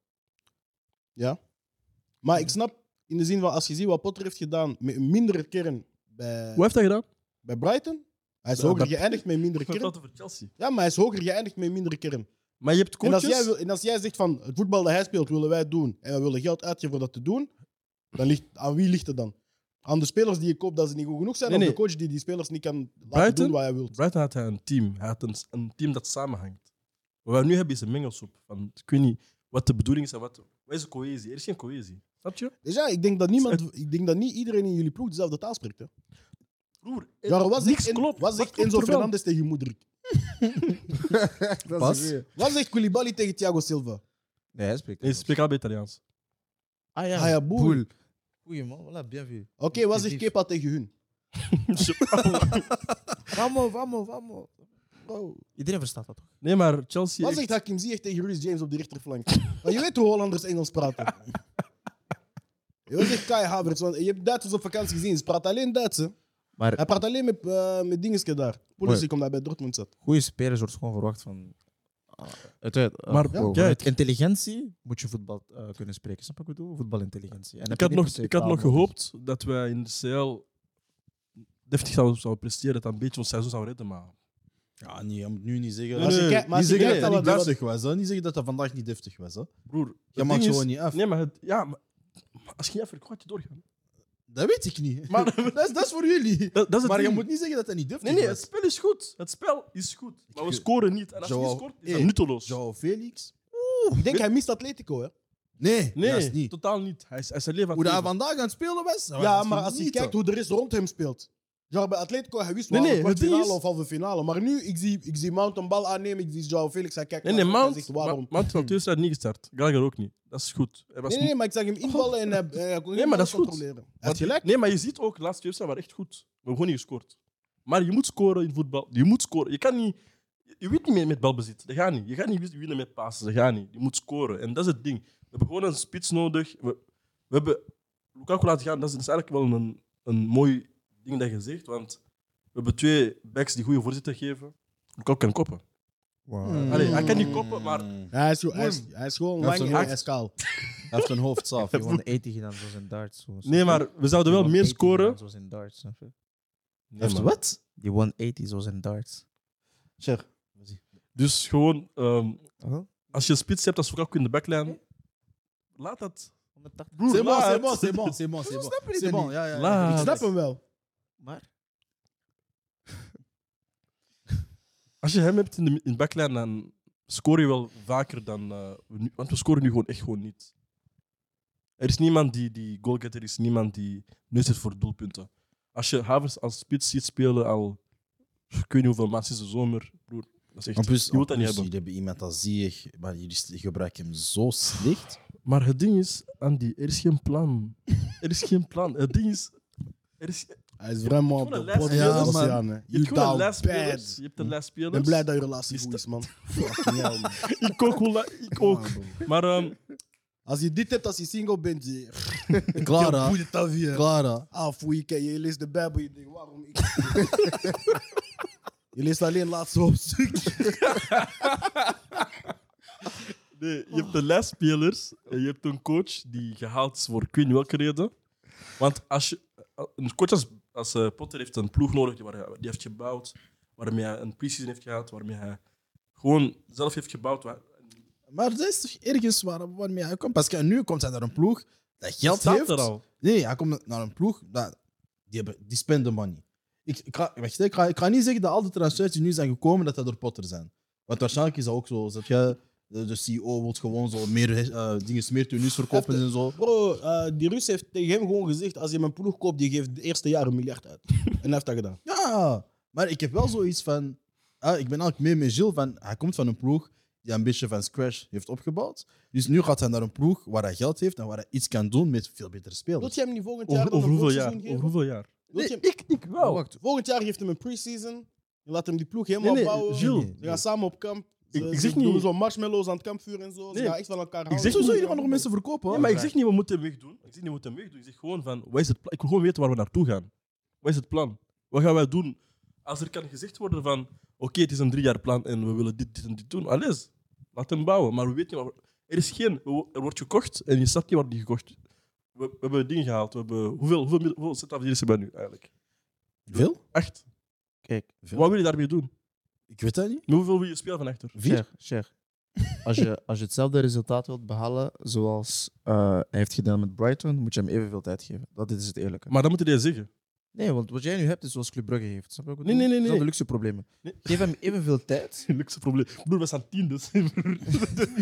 Speaker 1: Maar ik snap in de zin van als je ziet wat Potter heeft gedaan met een mindere kern bij,
Speaker 3: Hoe heeft hij gedaan?
Speaker 1: bij Brighton. Hij is
Speaker 3: Ja,
Speaker 1: hoger
Speaker 3: dat-
Speaker 1: geëindigd met een mindere
Speaker 3: Ik wil
Speaker 1: kern.
Speaker 3: praten over Chelsea.
Speaker 1: Ja, maar hij is hoger geëindigd met een mindere kern.
Speaker 3: Maar je hebt
Speaker 1: En als,
Speaker 3: coaches...
Speaker 1: jij wil- en als jij zegt van het voetbal dat hij speelt willen wij doen en we willen geld uitgeven voor dat te doen, dan ligt, aan wie ligt het dan? Aan de spelers die je koopt dat ze niet goed genoeg zijn,
Speaker 3: Nee,
Speaker 1: of
Speaker 3: nee.
Speaker 1: de coach die die spelers niet kan laten
Speaker 3: Brighton?
Speaker 1: doen wat hij wil.
Speaker 3: Brighton had hij een team. Hij had een, een team dat samenhangt. Wat we nu hebben is een mengelsoep. Van, ik weet niet wat de bedoeling is en wat... Wat is de cohesie? Er is geen cohesie. Snap je?
Speaker 1: Dus ja, ik denk dat, niemand, ik denk dat niet iedereen in jullie ploeg dezelfde taal spreekt. Hè.
Speaker 3: Broer,
Speaker 1: Ja, wat
Speaker 3: niks
Speaker 1: zegt, en,
Speaker 3: klopt.
Speaker 1: wat zegt
Speaker 3: klopt
Speaker 1: Enzo
Speaker 3: er wel?
Speaker 1: Fernandez tegen Moedrik?
Speaker 2: ja. Pas.
Speaker 1: Wat zegt Koulibaly tegen Thiago Silva?
Speaker 5: Nee, hij spreekt.
Speaker 3: Nee, ze spreken allebei Italiaans.
Speaker 5: Ah
Speaker 1: Ah ja, boel. Oké,
Speaker 5: Goeie man, voilà, bien vu.
Speaker 1: wat zegt Kepa tegen hun?
Speaker 5: Vamos, vamos, vamos.
Speaker 1: Bro.
Speaker 5: Iedereen verstaat dat toch?
Speaker 3: nee, maar Chelsea...
Speaker 1: Wat
Speaker 3: echt-
Speaker 1: zegt Hakim Ziyech tegen Ruiz James op de rechterflank? Maar je weet hoe Hollanders Engels praten. Je wat zegt Kai Havertz? Want je hebt Duitsers op vakantie gezien, ze praten alleen Duits. hè.
Speaker 5: Maar-
Speaker 1: Hij praat alleen met, eh, met dingetjes daar. Politie komt daar bij Dortmund zat.
Speaker 5: Goede spelers wordt gewoon verwacht van. ah, Het, het, eh,
Speaker 3: Maar
Speaker 5: gewoon
Speaker 3: kijk.
Speaker 5: vanuit intelligentie moet je voetbal eh, kunnen spreken. Snap je wat ik bedoel? Voetbalintelligentie. En
Speaker 3: Ik
Speaker 5: heb
Speaker 3: had,
Speaker 5: je
Speaker 3: nog,
Speaker 5: niet per se
Speaker 3: ik had nog
Speaker 5: taal nodig.
Speaker 3: gehoopt dat wij in de CL deftig zouden, zouden presteren, dat we een beetje ons seizoen zouden redden, maar...
Speaker 2: Ja, nee, je moet nu niet zeggen.
Speaker 1: Nee, Als je nee, kijkt- maar als
Speaker 2: niet
Speaker 1: je kijkt
Speaker 2: zeggen dat
Speaker 1: naar
Speaker 2: het
Speaker 1: wat-
Speaker 2: deftig was. Hè. Niet zeggen dat dat vandaag niet deftig was. Hè.
Speaker 3: Broer, het
Speaker 2: Je
Speaker 3: ding
Speaker 2: maakt
Speaker 3: is-
Speaker 2: gewoon niet af.
Speaker 3: Nee, maar, het, ja, maar maar als je niet afwerkt, gaat je doorgaan.
Speaker 2: Dat weet ik niet.
Speaker 3: Maar-
Speaker 2: dat, is, dat is voor jullie.
Speaker 3: Dat, dat is het
Speaker 2: Maar je
Speaker 3: ding.
Speaker 2: moet niet zeggen dat dat niet deftig
Speaker 3: Nee, nee, het
Speaker 2: was.
Speaker 3: spel is goed. Het spel is goed. Maar we
Speaker 2: Ik-
Speaker 3: scoren niet. En als je niet
Speaker 2: Joao-
Speaker 3: scoort, is dat
Speaker 2: Hey,
Speaker 3: nutteloos.
Speaker 2: Joao Felix?
Speaker 1: Ik denk hij mist Atletico, hè?
Speaker 2: Nee,
Speaker 3: Nee,
Speaker 2: dat is niet.
Speaker 3: totaal niet. Hij is, hij is zijn leven aan
Speaker 2: Hoe
Speaker 3: het
Speaker 2: hij
Speaker 3: leven.
Speaker 2: vandaag aan het spelen was. nou,
Speaker 1: Ja,
Speaker 2: dat is
Speaker 1: maar
Speaker 2: niet
Speaker 1: als je
Speaker 2: niet,
Speaker 1: kijkt
Speaker 2: hoor.
Speaker 1: hoe de rest rond hem speelt. Ja, bij Atletico, hij wist
Speaker 3: Nee,
Speaker 1: wel
Speaker 3: nee,
Speaker 1: nee,
Speaker 3: het ding
Speaker 1: finale
Speaker 3: is-
Speaker 1: of halve finale. Maar nu, ik zie, ik zie Mount een bal aannemen, ik zie Joao Felix, hij kijkt
Speaker 3: Nee, nee,
Speaker 1: naar hem en
Speaker 3: Mount,
Speaker 1: zegt
Speaker 3: Ma-
Speaker 1: waarom.
Speaker 3: Mount heeft al twee wedstrijden niet gestart. Gallagher ook niet. Dat is goed. Hij was
Speaker 1: Nee, nee, nee, maar ik zag hem invallen en hij, hij kon
Speaker 3: Nee, maar dat is goed.
Speaker 1: controleren. Hij
Speaker 3: Want-
Speaker 1: had gelijk.
Speaker 3: Nee, maar je ziet ook, de laatste twee wedstrijden waren echt goed. We hebben gewoon niet gescoord. Maar je moet scoren in voetbal. Je moet scoren. Je kan niet... Je je wint niet meer met balbezit. Dat gaat niet. Je gaat niet winnen met passen. Dat gaat niet. Je moet scoren. En dat is het ding. We hebben gewoon een spits nodig. We, we hebben Lukaku laten gaan. Dat is, dat is eigenlijk wel een, een mooi ding dat je zegt. Want we hebben twee backs die goede voorzitter geven. Lukaku kan koppen.
Speaker 5: Wow.
Speaker 3: Allee, hij kan niet
Speaker 2: Mm.
Speaker 3: koppen, maar...
Speaker 1: Ja, hij, is, gewoon- hij, is, hij is gewoon
Speaker 2: Hij heeft
Speaker 1: lang en hij
Speaker 2: een acht.
Speaker 1: is kaal.
Speaker 2: Hij heeft een hoofd saaf.
Speaker 5: Hij heeft gewoon 80 gedaan zoals in darts. zo.
Speaker 3: Nee, maar we zouden
Speaker 5: Die
Speaker 3: wel meer
Speaker 5: 180
Speaker 3: scoren.
Speaker 5: gedaan Zoals in darts. snap je?
Speaker 3: Nee, man.
Speaker 2: wat?
Speaker 5: Die 180 zoals in darts.
Speaker 2: Sure.
Speaker 3: Dus gewoon... ehm,
Speaker 5: Huh?
Speaker 3: als je een spits hebt als Lukaku in de backline... Laat dat...
Speaker 5: 180.
Speaker 3: Broer,
Speaker 2: C'est bon,
Speaker 3: laat.
Speaker 2: c'est bon, c'est bon, c'est bon, c'est bon.
Speaker 5: Snap je dit
Speaker 2: C'est
Speaker 5: dan
Speaker 2: bon,
Speaker 5: niet?
Speaker 2: ja, ja. ja.
Speaker 3: Laat.
Speaker 1: Ik snap hem wel.
Speaker 5: Maar
Speaker 3: Als je hem hebt in de, in de backline, dan scoor je wel vaker dan. eh, we nu, want we scoren nu gewoon echt gewoon niet. Er is niemand die, die goalgetter is, niemand die neus heeft voor doelpunten. Als je Havers als spits ziet spelen al ik weet niet hoeveel maanden sinds de zomer, broer, Dat is echt,
Speaker 2: En plus,
Speaker 3: je wilt dat
Speaker 2: en
Speaker 3: niet
Speaker 2: plus,
Speaker 3: hebben.
Speaker 2: jullie hebben iemand dat zie je, maar jullie gebruiken hem zo slecht.
Speaker 3: Maar het ding is, Andy, er is geen plan. Er is geen plan. Het ding is... Er is je
Speaker 1: Hij is vraiment op
Speaker 3: Gewoon
Speaker 1: de
Speaker 3: een les-
Speaker 1: pot.
Speaker 2: Ja,
Speaker 1: Ja,
Speaker 2: man.
Speaker 1: man.
Speaker 3: hebt
Speaker 1: You
Speaker 3: gewoon een
Speaker 1: down
Speaker 3: lijst spelers.
Speaker 1: bad.
Speaker 3: Je hebt een lijst
Speaker 1: Ik
Speaker 3: spelers.
Speaker 1: ben blij dat je relatie
Speaker 3: Is
Speaker 1: goed
Speaker 3: dat-
Speaker 1: is, man. Fucking hell, man.
Speaker 3: Ik ook. wel- Ik ook.
Speaker 1: Come on, bro.
Speaker 3: Maar ehm,
Speaker 1: Als je dit hebt als je single bent, je...
Speaker 2: Clara,
Speaker 1: Je ta vie, hè.
Speaker 2: Clara.
Speaker 1: Ah, foei, je ken je, je leest de Bijbel, je denkt, waarom ik... je leest alleen laatste hoofdstuk.
Speaker 3: nee, je hebt een lijst spelers en je hebt een coach die gehaald is voor ik weet niet welke reden. Want als je, eh, een coach als, als eh, Potter heeft een ploeg nodig die, waar hij- die heeft gebouwd, waarmee hij een pre-season heeft gehad, waarmee hij gewoon zelf heeft gebouwd. waar-
Speaker 2: Maar dat is toch ergens waar, waarmee hij komt? Parce que nu komt hij naar een ploeg dat geld
Speaker 3: staat
Speaker 2: heeft.
Speaker 3: er al.
Speaker 2: Nee, hij komt naar een ploeg dat, die, hebben, die spenden money. Ik, ik, ga, wacht, hè, ik, ga, ik ga niet zeggen dat al de transfers die nu zijn gekomen, dat dat door Potter zijn. Want waarschijnlijk is dat ook zo. Dat je, de, de CEO wilt gewoon zo meer eh, dingen, meer tenues verkopen en zo.
Speaker 1: Bro, eh, die Rus heeft tegen hem gewoon gezegd, als je mijn ploeg koopt, die geeft het eerste jaar een miljard uit. en hij heeft dat gedaan.
Speaker 2: Ja, maar ik heb wel zoiets van. ah, ik ben eigenlijk meer met Gilles van. Hij komt van een ploeg die een beetje van scratch heeft opgebouwd. Dus nu gaat hij naar een ploeg waar hij geld heeft en waar hij iets kan doen met veel betere
Speaker 1: Wilt
Speaker 2: spelers.
Speaker 1: je hem niet volgend jaar
Speaker 3: Over,
Speaker 1: dan
Speaker 3: over
Speaker 1: een
Speaker 3: hoeveel
Speaker 1: voorseizoen
Speaker 3: jaar?
Speaker 1: geven?
Speaker 3: Over hoeveel jaar?
Speaker 1: Wilt je hem-
Speaker 3: ik, ik
Speaker 5: Oh,
Speaker 3: wel.
Speaker 1: Wacht, volgend jaar geeft hem een pre-season. Je laat hem die ploeg helemaal
Speaker 3: Nee, nee,
Speaker 1: bouwen.
Speaker 3: Gilles.
Speaker 1: Ze gaan samen op kamp. Ze,
Speaker 3: Ik- ik
Speaker 1: ze
Speaker 3: zeg
Speaker 1: doen
Speaker 3: niet-
Speaker 1: zo marshmallows aan het kampvuur en zo. Ze
Speaker 3: Nee,
Speaker 1: gaan echt van elkaar
Speaker 3: zeg
Speaker 1: houden.
Speaker 3: niet-
Speaker 2: Sowieso, je gaat nog mensen verkopen. hoor.
Speaker 3: Nee, maar ik zeg niet, we moeten hem wegdoen. Ik zeg niet, we moeten hem wegdoen. Ik zeg gewoon van, wat is het pla- ik wil gewoon weten waar we naartoe gaan. Wat is het plan? Wat gaan wij doen? Als er kan gezegd worden van, oké, het is een drie jaar plan en we willen dit, dit en dit doen. Alles, laat hem bouwen. Maar we weten niet waar we- Er is geen... we wo- Er wordt gekocht en je snapt niet waar die gekocht... We, we hebben dingen gehaald. We hebben, hoeveel hoeveel, mil- hoeveel centavier's hebben we nu eigenlijk?
Speaker 2: Veel?
Speaker 3: Echt.
Speaker 5: Kijk,
Speaker 3: Wat wil je daarmee doen?
Speaker 2: Ik weet dat niet.
Speaker 3: En Hoeveel wil je spelen van achter?
Speaker 5: Sher, Sher. Als je, als je hetzelfde resultaat wilt behalen zoals eh, hij heeft gedaan met Brighton, moet je hem evenveel tijd geven. Dat is het eerlijke.
Speaker 3: Maar dan moet je dat zeggen.
Speaker 5: Nee, want wat jij nu hebt is zoals Club Brugge heeft. Snap je wat ik
Speaker 3: Nee,
Speaker 5: bedoel?
Speaker 3: nee, nee,
Speaker 5: Dat zijn
Speaker 3: nee.
Speaker 5: de luxe problemen.
Speaker 3: Nee.
Speaker 5: Geef hem evenveel tijd.
Speaker 3: geen luxe probleem. Broer, we staan tien, dus. Broer.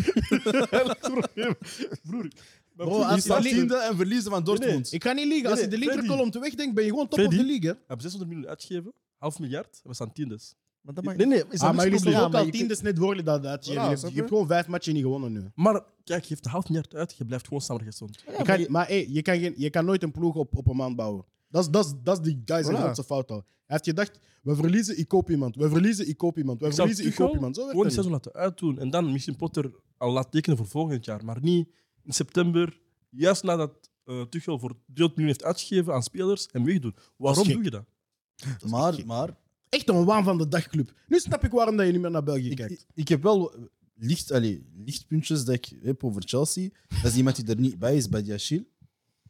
Speaker 3: Dat is het probleem. Broer. Maar
Speaker 1: Bro, als
Speaker 3: we
Speaker 1: je
Speaker 3: staan
Speaker 1: dat
Speaker 3: tien.
Speaker 2: Tiende en verliezen van
Speaker 3: Dortmund.
Speaker 2: Dortmund.
Speaker 1: Ik ga niet liegen. Als
Speaker 3: Nee,
Speaker 1: je de
Speaker 3: nee,
Speaker 1: linkerkolom te wegdenkt, ben je gewoon top of de
Speaker 3: Freddy?
Speaker 1: league. hè.
Speaker 3: We hebben 600 miljoen uitgegeven, half miljard, we staan tien, dus.
Speaker 5: Maar dat maakt
Speaker 3: Nee, nee, is dat
Speaker 1: Ah, maar
Speaker 3: maar,
Speaker 1: jullie
Speaker 5: probleem.
Speaker 1: stonden ook
Speaker 5: Ja, maar
Speaker 1: al
Speaker 5: je
Speaker 1: tiende, is net worden dat. dat je,
Speaker 5: Voilà,
Speaker 1: je hebt,
Speaker 5: snap
Speaker 1: je
Speaker 5: je?
Speaker 1: hebt gewoon vijf matchen niet gewonnen nu.
Speaker 3: maar kijk, je heeft een half miljard uit, je blijft gewoon staan waar je stond.
Speaker 1: je kan, maar hey, je, kan geen, je kan nooit een ploeg op, op een maand bouwen. Dat is, dat is, dat is die guy zijn
Speaker 5: Voilà.
Speaker 1: grootste fout al. Hij heeft gedacht, we verliezen, ik koop iemand. We verliezen, ik koop iemand. We
Speaker 3: Ik zou
Speaker 1: verliezen, ik
Speaker 3: Tuchel
Speaker 1: koop iemand. Zo werkt
Speaker 3: Gewoon die
Speaker 1: dat niet.
Speaker 3: seizoen laten uitdoen en dan misschien Potter al laat tekenen voor volgend jaar, maar niet in september, juist nadat eh Tuchel voor 300 miljoen heeft uitgegeven aan spelers en wegdoen. Waarom
Speaker 1: gek.
Speaker 3: doe je dat?
Speaker 2: Maar, maar
Speaker 1: Echt een waan van de dagclub. Nu snap ik waarom dat je niet meer naar België kijkt.
Speaker 2: ik, ik heb wel eh, licht, allee, lichtpuntjes dat ik heb over Chelsea. Dat is iemand die er niet bij is, bij Diachil.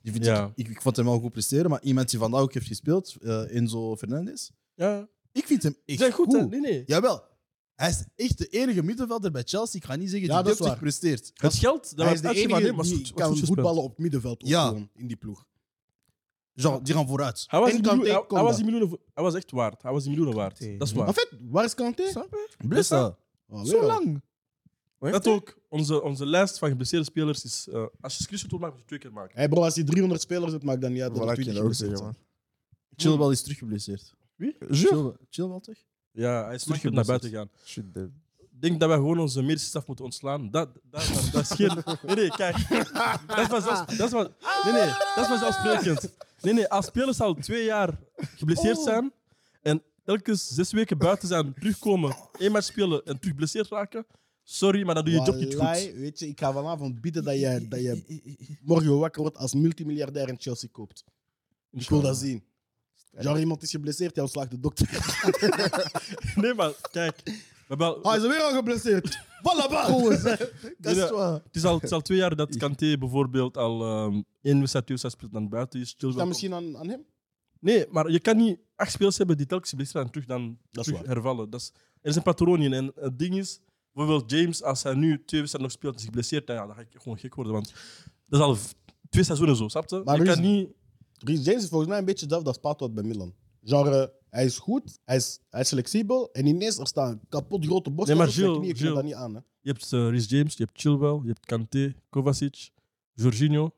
Speaker 2: Die vind
Speaker 3: Ja.
Speaker 2: ik, ik, ik vond hem wel goed presteren, maar iemand die vandaag ook heeft gespeeld, eh, Enzo Fernandez.
Speaker 3: Ja,
Speaker 2: Ik vind hem echt
Speaker 3: zijn goed,
Speaker 2: goed.
Speaker 3: hè? Nee, nee.
Speaker 2: Jawel. Hij is echt de enige middenvelder bij Chelsea. Ik ga niet zeggen
Speaker 1: Ja,
Speaker 2: die
Speaker 1: dat is
Speaker 2: deftig
Speaker 1: waar.
Speaker 2: presteert.
Speaker 3: Het geld, dat
Speaker 1: Hij is de
Speaker 3: uitgegeven aan
Speaker 1: enige
Speaker 3: hem was
Speaker 1: die
Speaker 3: goed- was
Speaker 1: kan
Speaker 3: goed gespeeld.
Speaker 1: voetballen op het middenveld. Ook
Speaker 2: Ja.
Speaker 1: gewoon, in die ploeg.
Speaker 2: Genre, die gaan vooruit.
Speaker 3: Hij was,
Speaker 1: En
Speaker 3: die
Speaker 1: Kanté
Speaker 3: miljoen- hij-
Speaker 1: kon
Speaker 3: hij was
Speaker 1: dat.
Speaker 3: die miljoenen, vo- hij was echt waard. Hij was die miljoenen waard.
Speaker 5: Kanté.
Speaker 3: Dat is
Speaker 2: Ah,
Speaker 1: En
Speaker 3: waar.
Speaker 1: fait, waar is Kanté?
Speaker 5: Snap je?
Speaker 2: Bless dat.
Speaker 1: Oh,
Speaker 5: Zo
Speaker 1: weer al.
Speaker 5: lang. Hoe heeft
Speaker 3: Dat ook. Onze, onze lijst van geblesseerde spelers is. eh, als je screenshot wil maken, moet je twee keer maken.
Speaker 1: Hey bro, als je 300 spelers hebt, maakt dan niet uit. dat er
Speaker 5: Voilà, ik
Speaker 1: 20
Speaker 5: kan dat ook
Speaker 1: geblesseerd
Speaker 5: zeggen,
Speaker 2: Chilwell is teruggeblesseerd.
Speaker 3: Wie?
Speaker 2: Chilwell, Chilwell toch?
Speaker 3: Ja, hij is
Speaker 2: Terug
Speaker 3: terug naar buiten gegaan.
Speaker 5: Shit, dude.
Speaker 3: Ik denk dat wij gewoon onze medische staf moeten ontslaan. Dat, dat, dat, dat is geen. Nee, nee, kijk. Dat was zelfs. Dat was, nee, nee, dat was zelfsprekend. Nee, nee, als spelers al twee jaar geblesseerd zijn. en telkens zes weken buiten zijn, terugkomen, één match spelen en terug geblesseerd raken. Sorry, maar dan doe je je job niet
Speaker 1: Wallahi,
Speaker 3: goed.
Speaker 1: Weet je, ik ga vanavond bieden dat je, dat je morgen wakker wordt als multimiljardair en Chelsea koopt. Ik wil dat zien. Genre, iemand is geblesseerd, jij ontslaagt de dokter.
Speaker 3: Nee, maar kijk. We hebben al-
Speaker 1: Hij Ah, is weer al geblesseerd. Voilà, bro.
Speaker 3: Nee, nee, Het is, al, het is al twee jaar dat Kanté bijvoorbeeld al ehm één wedstrijd, twee wedstrijd speelt dan buiten is. Chilwell
Speaker 1: Is dat
Speaker 3: komt-
Speaker 1: misschien aan, aan hem?
Speaker 3: Nee, maar je kan niet acht spelers hebben die telkens geblesseerd zijn en terug dan
Speaker 1: Dat is
Speaker 3: terug
Speaker 1: waar.
Speaker 3: hervallen. Dat is, er is een patroon in. En het ding is, bijvoorbeeld James, als hij nu twee wedstrijden nog speelt en zich blesseert, dan, ja, dan ga ik gewoon gek worden. Want dat is al v- twee seizoenen zo, snap je?
Speaker 1: Maar
Speaker 3: je
Speaker 1: er
Speaker 3: kan
Speaker 1: is-
Speaker 3: niet...
Speaker 1: Reece James is volgens mij een beetje hetzelfde als Patoot bij Milan. Genre, hij is goed, hij is, hij is flexibel en ineens er staat een kapot grote borst.
Speaker 3: Nee, maar
Speaker 1: op zijn
Speaker 3: Gilles,
Speaker 1: knieën, ik neem
Speaker 3: Gilles.
Speaker 1: dat niet aan. Hè.
Speaker 3: Je hebt eh, Rhys James, je hebt Chilwell, je hebt Kanté, Kovacic, Jorginho.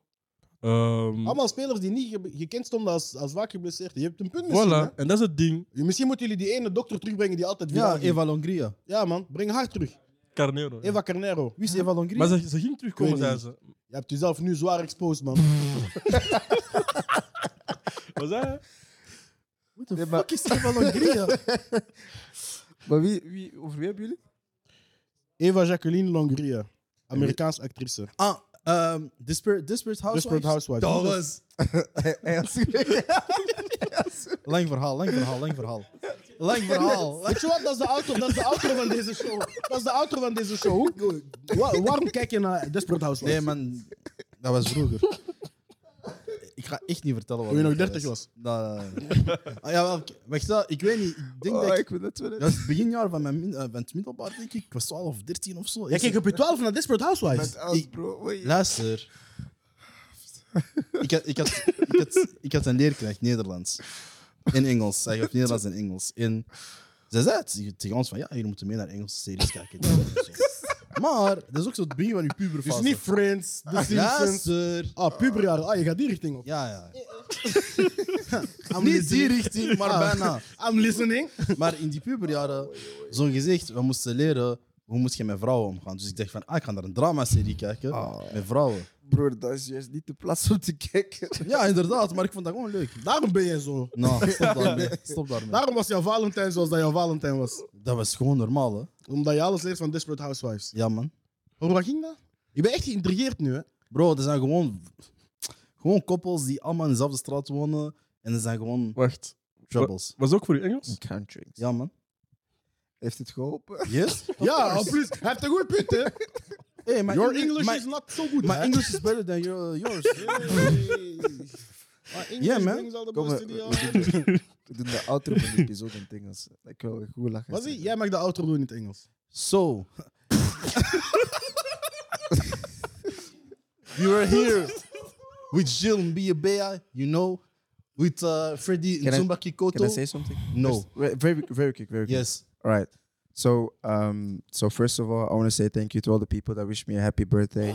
Speaker 3: Ehm,
Speaker 1: Allemaal spelers die niet ge- gekend stonden als, als vaak geblesseerd. Je hebt een punt misschien.
Speaker 3: voilà, en dat is het ding.
Speaker 1: hè. Misschien moeten jullie die ene dokter terugbrengen die altijd weer.
Speaker 2: Ja, Eva Longria.
Speaker 1: ja man, breng haar terug.
Speaker 3: Carnero. ja.
Speaker 1: Eva Carnero.
Speaker 2: Wie is Eva Longria?
Speaker 3: Maar ze, ze ging terugkomen,
Speaker 1: Ik weet
Speaker 3: zei
Speaker 1: niet.
Speaker 3: ze.
Speaker 1: Je hebt jezelf nu zwaar exposed, man.
Speaker 3: Was dat?
Speaker 2: What the
Speaker 5: Nee,
Speaker 2: fuck
Speaker 5: maar-
Speaker 2: is Eva Longria?
Speaker 5: Maar wie, wie, over wie hebben jullie?
Speaker 1: Eva Jacqueline Longria. Amerikaans actrice.
Speaker 2: ah, ehm, Desperate, Desperate Housewives.
Speaker 1: Desperate Housewives.
Speaker 2: Dat was... Lang verhaal, lang verhaal, lang verhaal. Lang verhaal.
Speaker 1: Weet je wat? Dat is de auto, dat is de auto van deze show. Dat is de auto van deze show. Hoe- wa- waarom kijk je naar Desperate Housewives?
Speaker 2: Nee, man. Dat was vroeger. Ik ga echt niet vertellen wat
Speaker 1: Toen je
Speaker 2: het
Speaker 1: nog 30 was.
Speaker 2: Nou, nee, nee. Ah, ja, wel, wacht, dat- ik weet niet. Ik denk dat Oh, ik...
Speaker 5: Ah, wil dat willen.
Speaker 2: Dat is het beginjaar van, mijn, min- eh, van het middelbaar, denk ik. Ik was 12 of 13 of zo.
Speaker 1: Jij keek op je 12 naar Desperate Housewives.
Speaker 5: Als bro, oei.
Speaker 2: Luister. Ik had, ik, had, ik, had, ik had een leerkracht Nederlands. In Engels. Hij gaf Nederlands en Engels. En ze zei het tegen ons van, ja, jullie moeten mee naar Engelse series kijken. Maar, dat is ook zo het begin van je
Speaker 1: Dus
Speaker 2: puberfase.
Speaker 1: niet Friends,
Speaker 2: Ah,
Speaker 1: The Simpsons.
Speaker 2: Luister.
Speaker 1: Ah, puberjaar. Ah, je gaat die richting op.
Speaker 2: Ja, ja.
Speaker 1: I'm
Speaker 2: Eh, oh. Niet die
Speaker 1: listening.
Speaker 2: richting, maar
Speaker 1: Ah.
Speaker 2: bijna.
Speaker 1: I'm listening.
Speaker 2: Maar in die puberjaren, zo'n gezicht, we moesten leren hoe moet je met vrouwen omgaan. Dus ik dacht van, ah, ik ga naar een dramaserie kijken met vrouwen.
Speaker 5: Broer, dat is juist niet de plaats om te kijken.
Speaker 2: Ja, inderdaad, maar ik vond dat gewoon leuk.
Speaker 1: Daarom ben je zo.
Speaker 2: Nou, stop daarmee. Stop daarmee.
Speaker 1: Daarom was jouw Valentijn zoals dat jouw Valentijn was.
Speaker 2: Dat was gewoon normaal, hè?
Speaker 1: Omdat je alles leert van Desperate Housewives.
Speaker 2: Ja, man.
Speaker 1: Hoe waar ging dat? Ik ben echt geïntrigeerd nu, hè.
Speaker 2: Bro, er zijn gewoon, gewoon koppels die allemaal in dezelfde straat wonen. En er zijn gewoon
Speaker 3: Wacht.
Speaker 2: troubles.
Speaker 3: Was dat ook voor je Engels?
Speaker 5: Country.
Speaker 2: Ja, man.
Speaker 5: Heeft het geholpen?
Speaker 2: Yes?
Speaker 1: Ja, en plus, hij heeft een goed punt, hè.
Speaker 2: Hey, maar
Speaker 1: Your English
Speaker 2: maar-
Speaker 1: is not so good,
Speaker 2: maar
Speaker 1: hè.
Speaker 2: English is better than your, yours.
Speaker 1: Maar English
Speaker 2: Yeah, man.
Speaker 1: brings all the
Speaker 5: Kom,
Speaker 1: best
Speaker 5: we-
Speaker 1: to the
Speaker 5: we-
Speaker 1: island.
Speaker 5: We doen de outro van de episode in het Engels. Ik wil goed lachen.
Speaker 1: Wat zie je? Jij mag de outro doen in het Engels.
Speaker 2: So, you were here with Jill Mbiabea, you know, with uh, Freddy
Speaker 5: Can I-
Speaker 2: Nzumba
Speaker 5: Can I
Speaker 2: Kikoto.
Speaker 5: say something?
Speaker 2: No.
Speaker 5: Wait, Very, very quick, very quick.
Speaker 2: Yes.
Speaker 5: All right. So, um, so first of all, I want to say thank you to all the people that wish me a happy birthday.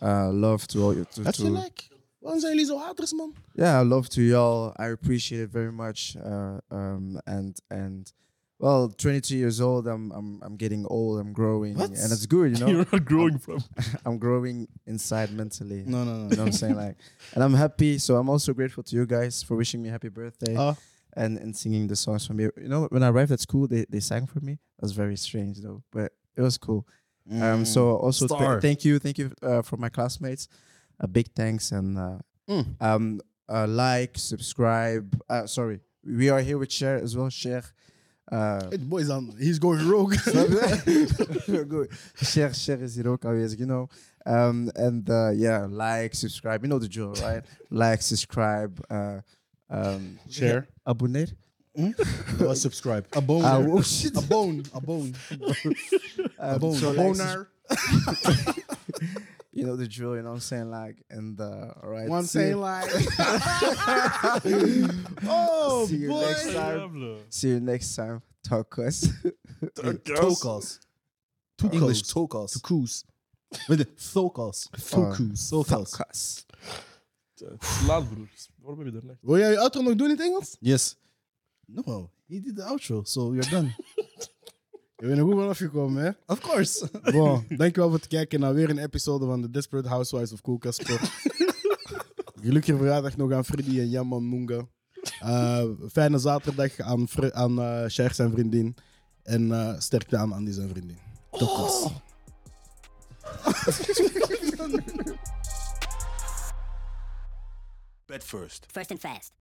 Speaker 5: Uh, love to all you. To,
Speaker 1: Heb je
Speaker 5: to,
Speaker 1: gelijk? Waarom zijn jullie zo haters, man?
Speaker 5: yeah, love to y'all. I appreciate it very much. Uh, um, and and well, 22 years old. I'm I'm I'm getting old. I'm growing,
Speaker 2: What?
Speaker 5: and it's good, you know.
Speaker 3: You're not growing from.
Speaker 5: I'm growing inside mentally.
Speaker 2: No, no, no.
Speaker 5: You know what I'm saying? Like, and I'm happy. So I'm also grateful to you guys for wishing me happy birthday
Speaker 2: Uh.
Speaker 1: Ah.
Speaker 5: and, and singing the songs for me. You know, when I arrived at school, they, they sang for me. That was very strange though, but it was cool.
Speaker 2: Mm.
Speaker 5: Um, so also th-
Speaker 2: Star.
Speaker 5: thank you, thank you uh, for my classmates. A big thanks and uh,
Speaker 1: Mm.
Speaker 5: um, uh, like, subscribe. Uh, sorry, we are here with Cher as well. Cher. Uh,
Speaker 1: It boy is on. He's going rogue.
Speaker 5: Good. Share, share is hier ook aanwezig, you know. Um, and uh, yeah, like, subscribe. You know the drill, right? like, subscribe. Uh, um,
Speaker 1: Share.
Speaker 5: Abonneer.
Speaker 1: Or subscribe.
Speaker 2: a bone.
Speaker 5: Ah, oh shit.
Speaker 2: a bone. A bone.
Speaker 5: Um,
Speaker 2: bone.
Speaker 5: so
Speaker 2: A
Speaker 5: like,
Speaker 1: Bonar.
Speaker 5: you know the drill, you know what I'm saying? Like, and uh, all right.
Speaker 1: One
Speaker 5: see
Speaker 1: say
Speaker 5: you-
Speaker 1: like. oh,
Speaker 5: See you next
Speaker 1: boy.
Speaker 5: time. See you next time. Talk us.
Speaker 2: Tokas. English tokas.
Speaker 1: Tokus.
Speaker 2: Wait, Thokas.
Speaker 1: Tokus.
Speaker 2: Thokas.
Speaker 5: us.
Speaker 3: Laat, broer. Waarom heb je er net?
Speaker 1: Wil jij je outro nog doen in het Engels?
Speaker 2: Yes. No, he did the outro, so you're done.
Speaker 1: Je bent er goed van afgekomen, hè?
Speaker 2: of course.
Speaker 1: Bon, dankjewel voor het kijken naar weer een episode van The Desperate Housewives of Koelkast Sport. Gelukkige verjaardag nog aan Freddy en Jamman Munga. Eh, fijne zaterdag aan, Fre- aan eh, Cher zijn vriendin. En eh, sterkte aan Andy zijn vriendin. Tot
Speaker 2: Oh.
Speaker 1: pas.
Speaker 4: First and fast.